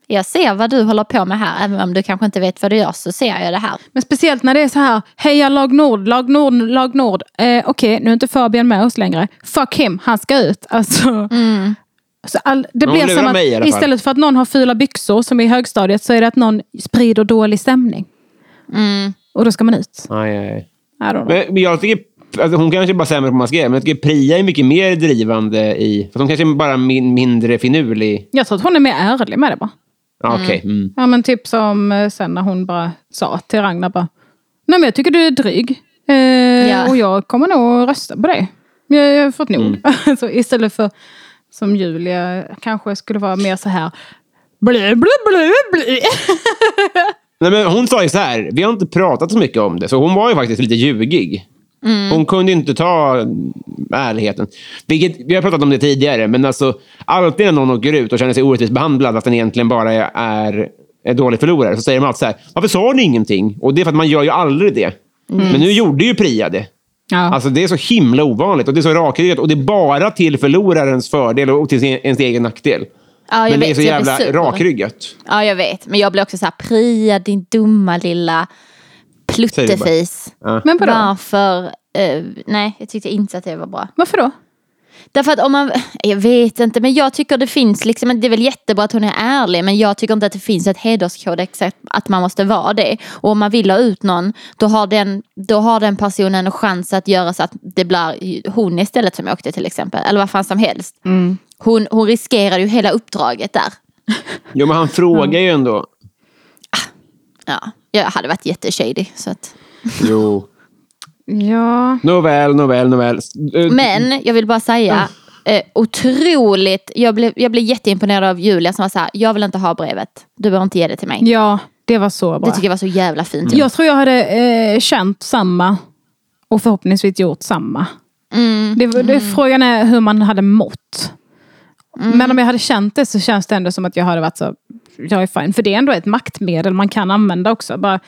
Speaker 3: Jag ser vad du håller på med här. Även om du kanske inte vet vad du gör så ser jag det här.
Speaker 2: Men speciellt när det är så här, heja lag Nord, lag Nord, lag Nord. Eh, Okej, nu är inte Fabian med oss längre. Fuck him, han ska ut. Alltså, så all, det
Speaker 1: Någon
Speaker 2: blir
Speaker 1: lurar
Speaker 2: som att
Speaker 1: mig i alla fall.
Speaker 2: istället för att någon har fula byxor som i högstadiet så är det att någon sprider dålig stämning. Och då ska man ut.
Speaker 1: Aj, aj, aj.
Speaker 2: I don't know.
Speaker 1: Men, men jag tycker... Alltså hon kanske bara är sämre på att maskera, men jag tycker Priya är mycket mer drivande i... För hon kanske är bara min, mindre finurlig.
Speaker 2: Jag tror att hon är mer ärlig med det bara.
Speaker 1: Ja, Okej. Mm.
Speaker 2: Ja men typ som eh, sen när hon bara sa till Ragnar bara. Nej men jag tycker du är dryg. Eh,
Speaker 3: Ja. Mm.
Speaker 2: Och jag kommer nog rösta på dig. Men Jag jag har fått nog. så istället för Som Julia kanske skulle vara mer så här. Bli, bli, bli, bli.
Speaker 1: Nej, men hon sa ju så här, vi har inte pratat så mycket om det, så hon var ju faktiskt lite ljugig. Hon kunde ju inte ta mm, ärligheten. Vilket, vi har pratat om det tidigare, men alltså, alltid när någon åker ut och känner sig orättvist behandlad, att den egentligen bara är, är en dålig förlorare, så säger de alltid så här, varför sa ni ingenting? Och det är för att man gör ju aldrig det. Men nu gjorde ju Priya det.
Speaker 2: Ja.
Speaker 1: Alltså det är så himla ovanligt och det är så rakryggat och det är bara till förlorarens fördel och till sin, ens egen nackdel.
Speaker 3: Ja, jag
Speaker 1: men det är
Speaker 3: vet,
Speaker 1: så
Speaker 3: jag blir
Speaker 1: jävla
Speaker 3: sur.
Speaker 1: rakryggat.
Speaker 3: Ja, jag vet. Men jag blir också så här, Priya, din dumma lilla pluttefis.
Speaker 2: Men vadå?
Speaker 3: Varför? Eh, nej, jag tyckte inte att det var bra.
Speaker 2: Varför då?
Speaker 3: Därför att om man, jag vet inte, men jag tycker det finns liksom, det är väl jättebra att hon är ärlig, men jag tycker inte att det finns ett hederskodex att- att man måste vara det. Och om man vill ha ut någon, då har den, då har den personen en chans att göra så att det blir hon istället som åkte till exempel, eller vad fan som helst. Hon, hon riskerar ju hela uppdraget där.
Speaker 1: Jo, men han frågar ju ändå.
Speaker 3: Ja, jag hade varit jätteshady. Så att.
Speaker 1: Jo.
Speaker 2: Ja.
Speaker 1: Nåväl, nåväl, nåväl. Eh,
Speaker 3: Men jag vill bara säga, eh, otroligt, jag blev, jag blev jätteimponerad av Julia som var så här, jag vill inte ha brevet, du behöver inte ge det till mig.
Speaker 2: Ja, det var så bra.
Speaker 3: Det tycker jag var så jävla fint. gjort.
Speaker 2: Jag tror jag hade eh, känt samma. Och förhoppningsvis gjort samma. Det, var- det, frågan är hur man hade mått. Men om jag hade känt det så känns det ändå som att jag hade varit så, jag är fine. För det är ändå ett maktmedel man kan använda också. Bara,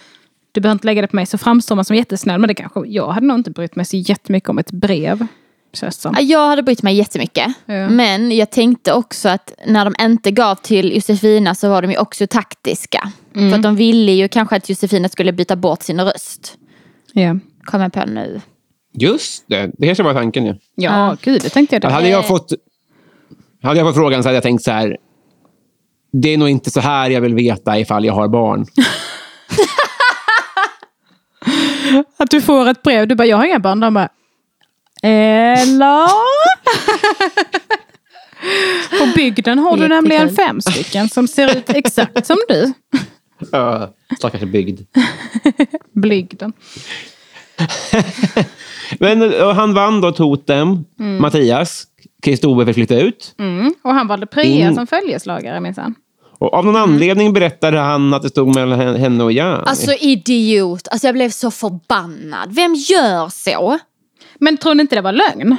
Speaker 2: du behöver inte lägga det på mig. Så framstår man som jättesnäll. Men det kanske, jag hade nog inte brytt mig så jättemycket om ett brev. Känns det som.
Speaker 3: Ja, Jag hade brytt mig jättemycket.
Speaker 2: Ja.
Speaker 3: Men jag tänkte också att när de inte gav till Josefina så var de ju också taktiska. För att de ville ju kanske att Josefina skulle byta bort sin röst.
Speaker 2: Ja.
Speaker 3: Kommer jag på nu.
Speaker 1: Just det, det kanske var tanken. Ja.
Speaker 2: Ja, gud, det tänkte jag då.
Speaker 1: Hade,
Speaker 3: Eh.
Speaker 1: jag fått, hade jag fått frågan så hade jag tänkt så här. Det är nog inte så här jag vill veta ifall jag har barn.
Speaker 2: Att du får ett brev, du bara, jag har inga barn. De bara, eller? På bygden har du
Speaker 3: Jättekul.
Speaker 2: nämligen fem stycken som ser ut exakt som du.
Speaker 1: Uh, stackars bygd.
Speaker 2: Blygden.
Speaker 1: Men eh, och han vann då Totem,
Speaker 3: Mm.
Speaker 1: Mattias. Kristove fick flytta ut.
Speaker 2: Mm. Och han valde Priya
Speaker 1: In-
Speaker 2: som följeslagare minsann.
Speaker 1: Och av någon anledning berättade han att det stod mellan hen- henne och Jani.
Speaker 3: Mm. Alltså idiot. Alltså jag blev så förbannad. Vem gör så?
Speaker 2: Men tror ni inte det var lögn?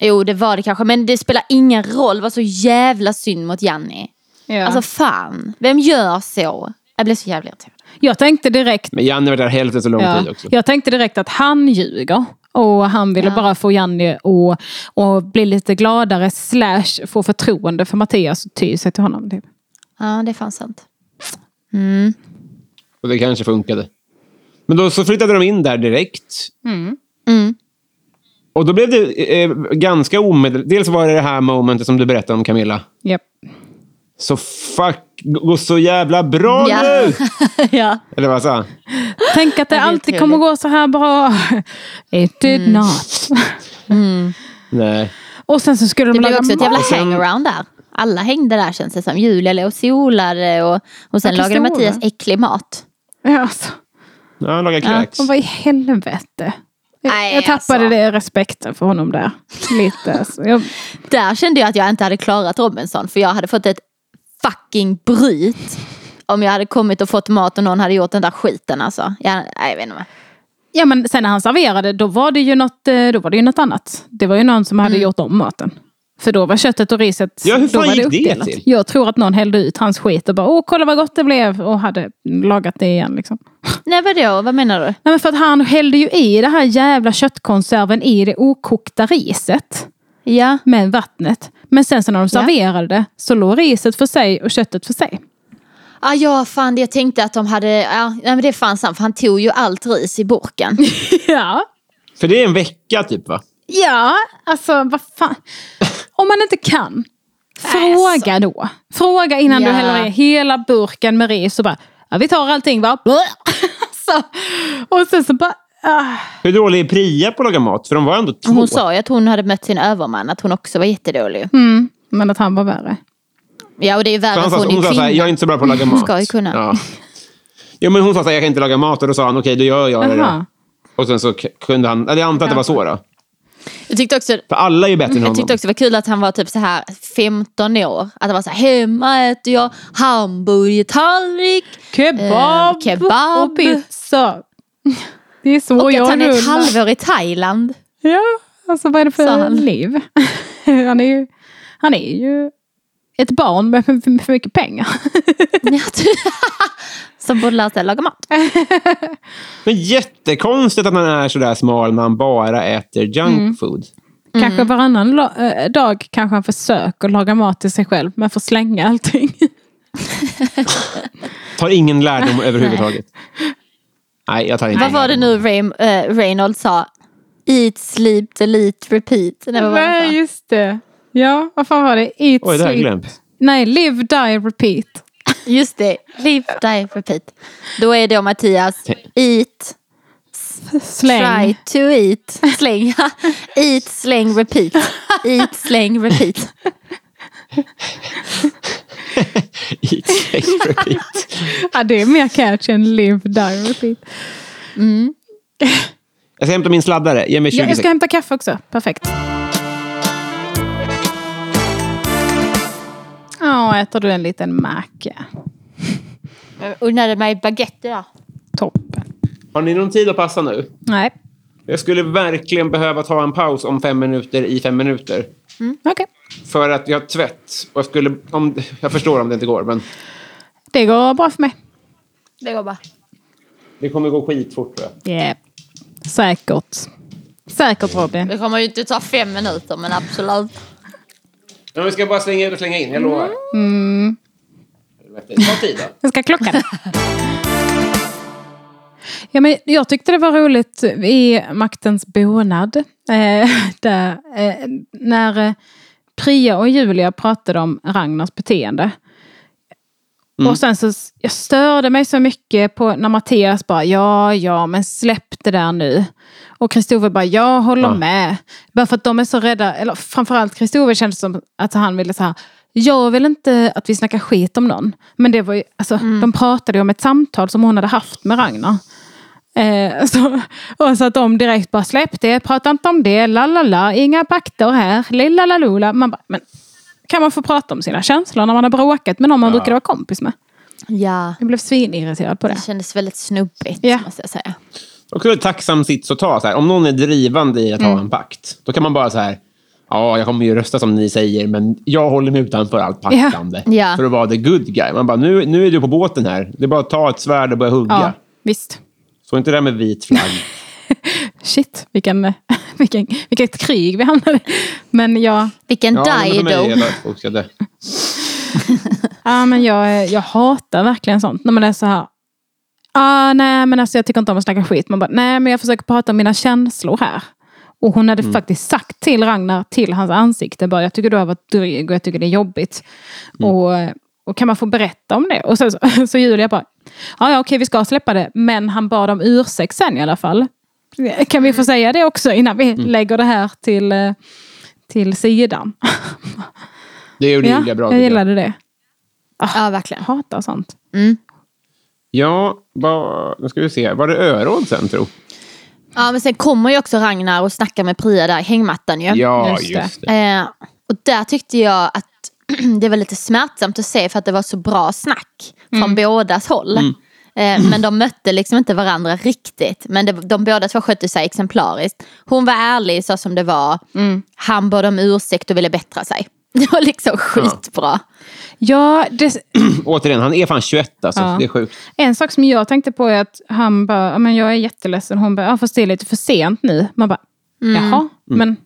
Speaker 3: Jo det var det kanske men det spelar ingen roll. Det var så jävla synd mot Janni.
Speaker 2: Ja.
Speaker 3: Alltså fan. Vem gör så? Jag blev så jävla irriterad.
Speaker 2: jag tänkte direkt
Speaker 1: Men Janni var där hälften så lång
Speaker 2: Ja,
Speaker 1: tid också.
Speaker 2: jag tänkte direkt att han ljuger. Och han ville bara få Janni att och bli lite gladare slash få förtroende för Mattias och ty sig till honom. Typ.
Speaker 3: Ja det är fan sant.
Speaker 1: Och det kanske funkade. Men då så flyttade de in där direkt.
Speaker 3: Mm.
Speaker 1: Och då blev det eh, ganska omedelbart. Dels var det det här momentet som du berättade om Camilla.
Speaker 2: Japp.
Speaker 1: Så fuck, går så jävla bra
Speaker 3: Ja.
Speaker 1: nu!
Speaker 3: ja.
Speaker 1: Eller vad jag sa?
Speaker 2: Tänk att det alltid
Speaker 3: trevligt. Mm.
Speaker 2: kommer gå så här bra. It did not.
Speaker 1: Nej.
Speaker 2: Och sen så skulle de
Speaker 3: Det blev
Speaker 2: laga
Speaker 3: också ett jävla
Speaker 2: mat.
Speaker 3: hangaround där. Alla hängde där känns det som. Julia låg och solade och, och sen
Speaker 2: Ja,
Speaker 3: lagade
Speaker 2: Kristina.
Speaker 3: Mattias äcklig mat.
Speaker 2: Ja, alltså.
Speaker 1: Ja, han lagar kräks.
Speaker 2: Och vad i helvete. Jag,
Speaker 3: Nej,
Speaker 2: jag tappade
Speaker 3: alltså.
Speaker 2: det respekten för honom där. Lite. Alltså. Jag,
Speaker 3: Där kände jag att jag inte hade klarat Robinson för jag hade fått ett fucking bryt. Om jag hade kommit och fått mat och någon hade gjort den där skiten alltså. Jag, nej, jag vet inte. vad.
Speaker 2: ja, men sen när han serverade, då var, det ju något, eh, då var det ju något annat. Det var ju någon som hade gjort om maten. För då var köttet och riset
Speaker 1: Mm. Ja, hur
Speaker 2: då
Speaker 1: fan
Speaker 2: var
Speaker 1: gick det
Speaker 2: uppdelat.
Speaker 1: till?
Speaker 2: Jag tror att någon hällde ut hans skit och bara, åh kolla vad gott det blev. Och hade lagat det igen. Liksom.
Speaker 3: Nej vadå, vad menar du?
Speaker 2: Nej, men för att han hällde ju i det här jävla köttkonserven i det okokta riset
Speaker 3: Ja,
Speaker 2: med vattnet. Men sen så när de
Speaker 3: Ja.
Speaker 2: serverade det så låg riset för sig och köttet för sig.
Speaker 3: ah, ja fan jag tänkte att de hade, ja, nej men det fanns han för han tog ju allt ris i burken.
Speaker 2: Ja,
Speaker 1: För det är en vecka typ va?
Speaker 2: ja, alltså vad fan. Om man inte kan, fråga då. Fråga innan du
Speaker 3: Äh, Ja.
Speaker 2: häller i hela burken med ris och bara, ja, vi tar allting va? så, och sen så bara, ah.
Speaker 1: Hur dålig är Priya på att laga mat? För de var ändå två.
Speaker 3: Hon sa ju att hon hade mött sin överman, att hon också var jättedålig.
Speaker 2: mm. men att han var värre.
Speaker 3: Ja och det är ju
Speaker 1: För
Speaker 3: värre
Speaker 1: han
Speaker 3: att
Speaker 1: sa,
Speaker 3: hon
Speaker 1: hon
Speaker 3: är
Speaker 1: sa så här, jag är
Speaker 3: kvinna.
Speaker 1: inte så bra på att laga mat.
Speaker 3: Mm. ska ju kunna.
Speaker 1: Ja. Jo, men hon sa så här, jag kan inte laga mat. Och då sa han, okej, då gör jag det.
Speaker 2: Jaha.
Speaker 1: då. Och sen så k- kunde han, eller jag antar att det var så då.
Speaker 3: Jag tyckte också
Speaker 1: För alla är ju bättre än
Speaker 3: Mm, jag
Speaker 1: honom.
Speaker 3: tyckte också det var kul att han var typ så här 15 år. Att han var så här, hemma äter jag hamburgertallrik.
Speaker 2: Kebab,
Speaker 3: Eh, kebab.
Speaker 2: och pizza. Det är så
Speaker 3: Och
Speaker 2: jag
Speaker 3: att han är ett
Speaker 2: rullar.
Speaker 3: halvår i Thailand.
Speaker 2: Ja, alltså vad är det
Speaker 3: Sa
Speaker 2: för
Speaker 3: han.
Speaker 2: liv? Han är, ju, han är ju ett barn med för, för- för mycket pengar.
Speaker 3: Ja, ty- Som borde lära sig laga mat.
Speaker 1: Men jättekonstigt att han är sådär smal när han bara äter junk
Speaker 3: Mm.
Speaker 1: food.
Speaker 2: Kanske varannan la- eh, dag kanske han försöker laga mat till sig själv men får slänga allting.
Speaker 1: Tar ingen lärdom överhuvudtaget. Nej, jag tar inte
Speaker 3: Vad var det nu Ray, eh, Reynolds sa? Eat, sleep, delete, repeat. Nej, vad var det han sa?
Speaker 2: Nej, just det. Ja, vad fan var det? Eat,
Speaker 1: Oj, det har jag
Speaker 2: sleep.
Speaker 1: glömt.
Speaker 2: Nej, live, die, repeat.
Speaker 3: Just det, live, die, repeat. Då är då Mattias, eat,
Speaker 2: Släng.
Speaker 3: try to eat, släng, eat, släng, repeat. Eat, släng, repeat.
Speaker 1: Eat, sleep, repeat.
Speaker 2: Ja, det är mer catch än live, die, repeat.
Speaker 1: Jag ska hämta min sladdare. Ge mig 20
Speaker 2: Ja, jag ska
Speaker 1: sekunder.
Speaker 2: hämta kaffe också. Perfekt. Ja, äter du en liten macka?
Speaker 3: Jag Unnade mig baguette idag.
Speaker 2: Toppen.
Speaker 1: Har ni någon tid att passa nu?
Speaker 2: Nej,
Speaker 1: Jag skulle verkligen behöva ta en paus om fem minuter i fem minuter.
Speaker 2: okej.
Speaker 1: För att jag har tvätt. Och jag, skulle, om, jag förstår om det inte går, men
Speaker 2: Det går bra för mig.
Speaker 3: Det går bra.
Speaker 1: det kommer gå skitfort tror jag.
Speaker 2: Yeah. Säkert. Säkert Robin.
Speaker 3: Det kommer ju inte ta fem minuter men absolut.
Speaker 1: Men vi ska bara slänga ut och slänga in, jag
Speaker 2: Mm.
Speaker 1: lovar. Ta tid då.
Speaker 2: Jag ska klockan. Ja, men jag tyckte det var roligt i Maktens bonad. Eh, där, eh, när eh, Priya och Julia pratade om Ragnars beteende. Och sen så s- jag störde mig så mycket på när Mattias bara ja, ja, men släpp det där nu. Och Kristoffer bara jag håller
Speaker 1: Ja.
Speaker 2: med. Bara för att de är så rädda, eller framförallt Kristoffer kändes som att han ville så här jag vill inte att vi snackar skit om någon. Men det var ju, alltså, de pratade ju om ett samtal som hon hade haft med Ragnar. Eh, så, och så att de direkt bara släpp det, prata inte om det, la la la, inga pakter här, lilla la lula. Man bara, men kan man få prata om sina känslor när man har bråkat med någon man brukade vara kompis med?
Speaker 3: Ja,
Speaker 2: Jag blev svinirriterad på det.
Speaker 3: det kändes väldigt snubbigt
Speaker 2: Ja.
Speaker 3: måste jag säga.
Speaker 1: Också en tacksam sits att ta. Så här. Om någon är drivande i att
Speaker 2: Mm.
Speaker 1: ha en pakt, då kan man bara så här... Ja, jag kommer ju rösta som ni säger, men jag håller mig utanför allt paktande.
Speaker 3: Ja. Ja.
Speaker 1: För att vara the good guy. Man bara, nu, nu är du på båten här. Det är bara att ta ett svärd och börja hugga.
Speaker 2: Ja, visst.
Speaker 1: Så inte det där med vit flagg.
Speaker 2: Shit, vilken, vilken, vilket krig vi hamnade i. Men jag,
Speaker 3: Vilken
Speaker 1: ja, men
Speaker 3: die
Speaker 1: för mig är
Speaker 3: då.
Speaker 1: det folk ska dö.
Speaker 2: ja, men jag, jag hatar verkligen sånt. När man är så här. Ah, nej, men alltså, jag tycker inte om att snacka skit. Man bara, nej, men jag försöker prata om mina känslor här. Och
Speaker 1: Mm.
Speaker 2: hon hade faktiskt sagt till Ragnar, till hans ansikte, bara, jag tycker du har varit dryg och jag tycker det är jobbigt.
Speaker 1: Mm.
Speaker 2: Och, och kan man få berätta om det? Och sen så, så Julia bara, ja, ja okej vi ska släppa det, men han bad om ursäkt sen i alla fall. Kan vi få säga det också innan vi
Speaker 1: Mm.
Speaker 2: lägger det här till, eh, till sidan?
Speaker 1: Det gjorde
Speaker 2: Ja,
Speaker 1: Julia bra.
Speaker 2: jag
Speaker 1: tycker
Speaker 2: gillade det.
Speaker 3: Ja, verkligen.
Speaker 2: Hatar sånt.
Speaker 1: Ja, vad- nu ska vi se. Var det öråd sen, tro?
Speaker 3: Ja, men sen kommer ju också Ragnar och snackar med Priya där i hängmattan ju.
Speaker 1: Ja,
Speaker 2: just
Speaker 1: just,
Speaker 2: det.
Speaker 1: det.
Speaker 3: Eh, och där tyckte jag att det var lite smärtsamt att se för att det var så bra snack från bådas håll.
Speaker 1: Mm.
Speaker 3: Eh, men de mötte liksom inte varandra riktigt. Men det, de båda två skötte sig exemplariskt. Hon var ärlig så som det var. Han bad om ursäkt och ville bättra sig. Det var liksom skitbra.
Speaker 2: Ja, det,
Speaker 1: Återigen, han är fan 21 alltså.
Speaker 2: Ja.
Speaker 1: Det är sjukt.
Speaker 2: en sak som jag tänkte på är att han bara, "Ja, men jag är jätteledsen. Hon bara, ja, fast det är lite för sent nu. Man bara,
Speaker 3: Mm.
Speaker 2: jaha, men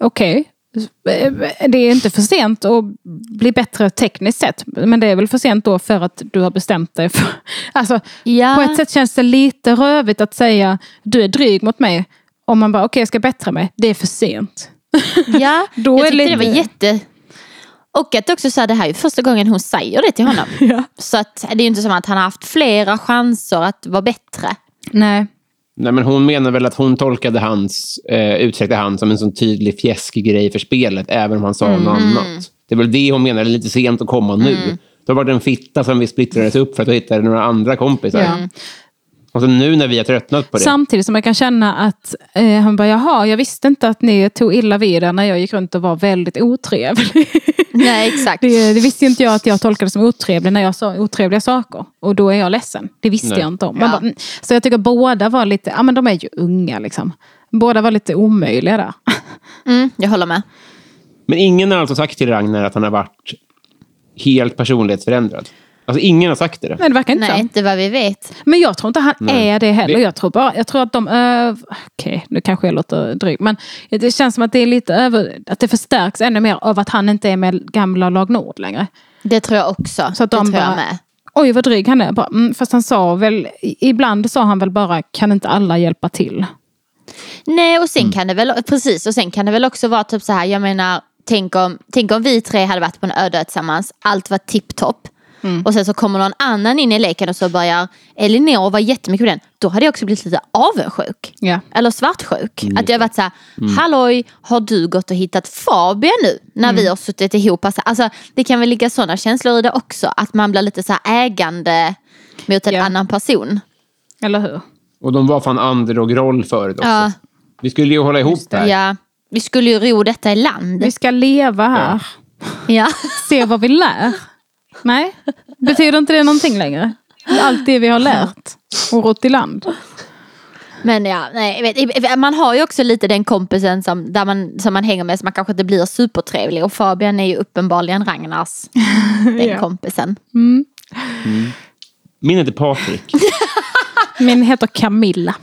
Speaker 2: okej. Det är inte för sent att bli bättre tekniskt sett. Men det är väl för sent då för att du har bestämt dig för... Alltså,
Speaker 3: Ja.
Speaker 2: På ett sätt känns det lite rövigt att säga du är dryg mot mig. Om man bara, okej jag ska bättra mig. Det är för sent.
Speaker 3: Ja,
Speaker 2: Då är
Speaker 3: jag tyckte det
Speaker 2: lite-
Speaker 3: var jätte... Och att också så här, det här är ju första gången hon säger det till honom.
Speaker 2: Ja.
Speaker 3: Så att, det är ju inte som att han har haft flera chanser att vara bättre.
Speaker 2: Nej.
Speaker 1: Nej, men hon menar väl att hon tolkade hans eh, utsträckta hand som en sån tydlig fjäskig grej för spelet, även om han sa
Speaker 2: Mhm.
Speaker 1: något annat. Det är väl det hon menar, det är lite sent att
Speaker 2: Mm.
Speaker 3: Mm.
Speaker 1: komma nu. Det har varit en fitta som vi splittrades upp för att vi hittade några andra kompisar.
Speaker 2: Ja.
Speaker 1: Och Och så nu när vi har tröttnat på det.
Speaker 2: Samtidigt som jag kan känna att eh, han bara, jaha, jag visste inte att ni tog illa vid er när jag gick runt och var väldigt otrevlig.
Speaker 3: Nej, exakt.
Speaker 2: det, det visste ju inte jag att jag tolkade som otrevlig när jag sa otrevliga saker. Och då är jag ledsen. Det visste
Speaker 1: Nej.
Speaker 2: jag inte om. Man
Speaker 3: Ja.
Speaker 2: bara, mm. så jag tycker båda var lite, ja men de är ju unga liksom. Båda var lite omöjliga där.
Speaker 3: Mm, jag håller med.
Speaker 1: Men ingen har alltså sagt till Ragnar att han har varit helt personlighetsförändrad. Alltså ingen har sagt det.
Speaker 2: Men det verkar inte
Speaker 3: Nej,
Speaker 2: så.
Speaker 3: inte vad vi vet.
Speaker 2: Men jag tror inte han
Speaker 1: Nej.
Speaker 2: är det heller.
Speaker 1: Det-
Speaker 2: Jag tror, bara, jag tror att de över... Okej, nu kanske jag låter dryg. Men det känns som att det är lite över... Att det förstärks ännu mer av att han inte är med gamla lag Nord längre.
Speaker 3: Det tror jag också.
Speaker 2: Så att de
Speaker 3: det tror
Speaker 2: bara-
Speaker 3: jag med.
Speaker 2: Oj, vad dryg han är. Bara, mm, fast han sa väl... i- Ibland sa han väl bara, kan inte alla hjälpa till?
Speaker 3: Nej, och sen
Speaker 2: Mm.
Speaker 3: kan det väl, precis, och sen kan det väl också vara typ så här, jag menar, tänk om, tänk om vi tre hade varit på en öde ö tillsammans, allt var tipptopp.
Speaker 2: Mm.
Speaker 3: Och sen så kommer någon annan in i leken och så börjar Elinor vara jättemycket med den. Då hade jag också blivit lite avundsjuk.
Speaker 2: Ja.
Speaker 3: Eller svartsjuk. Att jag har varit så här, halloj, har du gått och hittat Fabia nu? När vi har suttit ihop. Alltså, Alltså, det kan väl ligga sådana känslor i det också. Att man blir lite så här ägande mot en
Speaker 2: Ja.
Speaker 3: annan person.
Speaker 2: Eller hur?
Speaker 1: Och de var fan underdog-roll förut också.
Speaker 3: Ja.
Speaker 1: Vi skulle ju hålla ihop här.
Speaker 3: Ja, vi skulle ju ro detta i land.
Speaker 2: Vi ska leva här.
Speaker 3: Ja.
Speaker 2: Se vad vi lär. Nej? Betyder inte det någonting längre? Allt det vi har lärt och rott i land.
Speaker 3: Men ja, nej, jag vet, man har ju också lite den kompisen som, där man, som man hänger med som man kanske inte blir supertrevlig. Och Fabian är ju uppenbarligen Ragnars, den
Speaker 2: Ja.
Speaker 3: kompisen.
Speaker 1: Min heter Patrik.
Speaker 2: Min heter Camilla.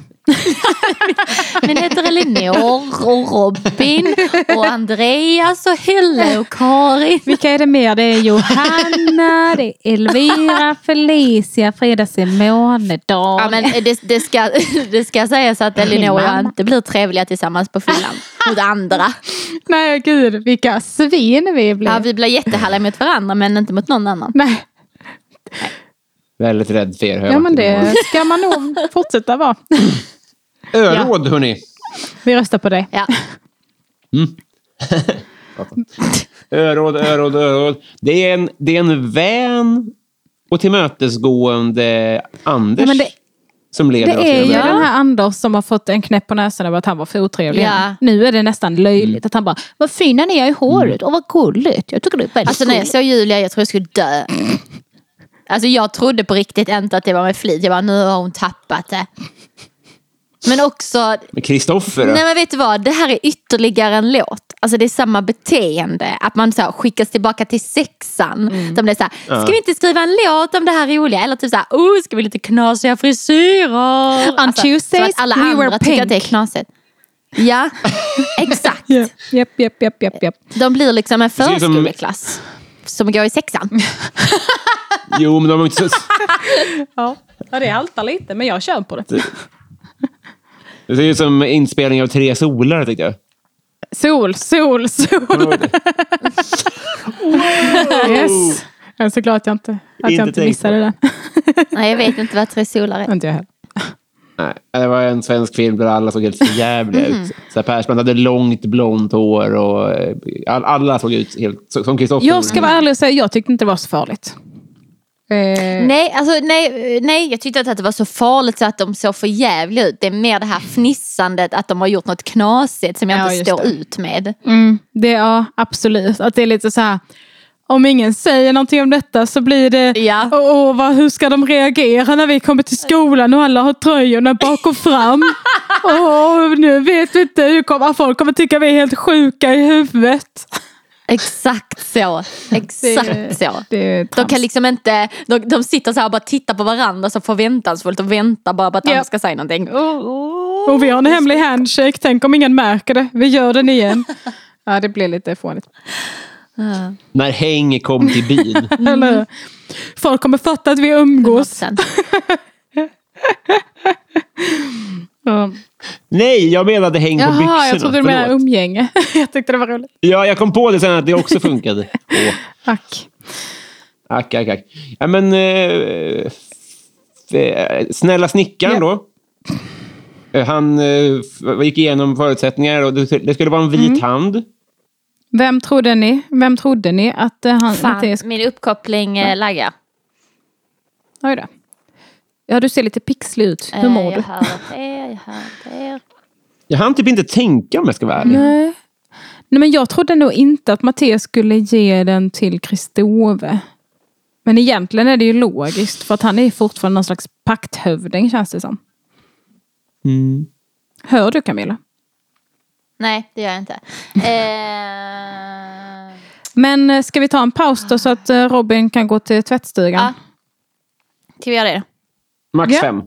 Speaker 3: Men heter Elinor och Robin och Andreas och Helle och Karin.
Speaker 2: Vilka är det mer? Det är Johanna, det är Elvira, Felicia, Frida Simone-dagen.
Speaker 3: Ja, men det, det, ska, det ska sägas att Elinor och jag
Speaker 2: mamma.
Speaker 3: inte blir trevliga tillsammans på fyllan. Mot andra.
Speaker 2: Nej, gud vilka svin vi blev.
Speaker 3: Ja, vi blir jättehärliga mot varandra men inte mot någon annan.
Speaker 2: Nej,
Speaker 1: Väldigt rädd för er. har jag
Speaker 2: ja, men
Speaker 1: varit i många
Speaker 2: det ska man nog fortsätta vara.
Speaker 1: år. Öråd, hörni!
Speaker 2: Vi röstar på dig.
Speaker 3: Ja.
Speaker 1: Öråd, öråd, öråd. Det är en, det är en vän och tillmötesgående Anders
Speaker 2: Ja, men det-
Speaker 1: som
Speaker 2: Det
Speaker 1: leder oss
Speaker 2: är ju
Speaker 1: genom
Speaker 3: Ja.
Speaker 2: den här Anders som har fått en knäpp på näsan över att han var för otrevlig.
Speaker 3: Ja.
Speaker 2: Nu är det nästan löjligt att han bara, vad fina ni är i håret och vad gulligt. Jag tycker det är väldigt
Speaker 3: Alltså när jag
Speaker 2: gulligt."
Speaker 3: såg Julia, jag trodde jag skulle dö. Alltså jag trodde på riktigt inte att det var med flit. Jag bara, nu har hon tappat det. Men också,
Speaker 1: Men Kristoffer,
Speaker 3: nej
Speaker 1: då?
Speaker 3: men vet du vad, det här är ytterligare en låt. Alltså det är samma beteende. Att man så här, skickas tillbaka till sexan. Där man är så här, ska vi inte skriva en låt om det här roliga? Eller typ så här, oh, ska vi lite knasiga frisyrer?
Speaker 2: On
Speaker 3: som
Speaker 2: Tuesdays,
Speaker 3: att alla
Speaker 2: we
Speaker 3: andra
Speaker 2: were
Speaker 3: tycker att det är
Speaker 2: pink.
Speaker 3: knasigt. Ja, exakt.
Speaker 2: Ja, Japp, japp, japp, japp, japp.
Speaker 3: De blir liksom en
Speaker 1: ser ut som-
Speaker 3: förskoleklass. Som går i sexan.
Speaker 1: Jo, men de har inte... så-
Speaker 2: Ja. ja, det haltar lite men jag kör på det.
Speaker 1: Det ser ut som inspelning av Tre solar, tyckte jag.
Speaker 2: Sol, sol, sol. Yes. Jag är så glad att jag inte, att
Speaker 1: Inte
Speaker 2: jag inte
Speaker 1: tänkt
Speaker 2: missade det.
Speaker 3: Nej, jag vet inte vad tre solar är.
Speaker 2: inte jag heller.
Speaker 1: Nej, det var en svensk film där alla såg helt förjävliga
Speaker 2: Mhm.
Speaker 1: ut. Så här, Persbrandt hade långt blont hår och eh, all, alla såg ut helt så- som Kristoffer.
Speaker 2: Jag ska vara ärlig och säga jag tyckte inte det var så farligt. Eh,
Speaker 3: Nej, alltså, nej, eh, nej, jag tyckte inte att det var så farligt så att de såg för jävligt ut. Det är mer det här fnissandet att de har gjort något knasigt som jag
Speaker 2: Ja,
Speaker 3: inte
Speaker 2: just
Speaker 3: står
Speaker 2: det.
Speaker 3: ut med.
Speaker 2: mm, det, ja, absolut. Att det är lite så här. Om ingen säger någonting om detta så blir det,
Speaker 3: Ja.
Speaker 2: åh, åh, vad, hur ska de reagera när vi kommer till skolan och alla har tröjorna bak och fram? Åh, nu vet vi inte, hur kommer, folk kommer tycka vi är helt sjuka i huvudet.
Speaker 3: Exakt så. Exakt så.
Speaker 2: Det är
Speaker 3: De
Speaker 2: trams.
Speaker 3: kan liksom inte, de, de sitter så här och bara tittar på varandra så förväntansfullt och väntar bara på att
Speaker 2: Ja.
Speaker 3: andra ska säga någonting.
Speaker 2: Oh, Och vi har en hemlig handshake, tänk om ingen märker det. Vi gör den igen. Ja, det blir lite fånigt.
Speaker 1: När Häng kom till byn.
Speaker 2: Eller hur? Folk kommer fatta att vi umgås.
Speaker 3: 100%.
Speaker 2: Ja.
Speaker 1: Nej, jag menade Häng på byxorna.
Speaker 2: Jaha, jag trodde du menade
Speaker 1: Förlåt.
Speaker 2: umgänge. Jag tyckte det var roligt.
Speaker 1: Ja, jag kom på det sen att det också funkade. Åh,
Speaker 2: Tack.
Speaker 1: ack, ack, ack. Ja, men... Eh, f- eh, snälla snickaren
Speaker 2: Ja.
Speaker 1: då. Eh, Han eh, f- gick igenom förutsättningar och det det skulle vara en
Speaker 2: Mm.
Speaker 1: vit hand.
Speaker 2: Vem trodde ni, vem trodde ni att eh, han... Att det
Speaker 3: Fan,
Speaker 2: sk-
Speaker 3: min uppkoppling eh, laggar.
Speaker 2: Oj då. Ja, du ser lite pixlig ut. Hur mår
Speaker 3: Eh, jag
Speaker 2: du?
Speaker 3: hör åt er, jag hör åt er.
Speaker 1: Jag hann typ inte tänka om jag ska vara ärlig.
Speaker 2: Nej. Nej, men jag trodde nog inte att Mattias skulle ge den till Kristove. Men egentligen är det ju logiskt för att han är fortfarande någon slags pakthövding känns det som.
Speaker 1: Mm.
Speaker 2: Hör du Camilla?
Speaker 3: Nej, det gör jag inte. Eh,
Speaker 2: Men eh, ska vi ta en paus då så att eh, Robin kan gå till tvättstugan?
Speaker 3: Ja. ska vi göra det?
Speaker 1: Max
Speaker 2: Ja.
Speaker 1: fem.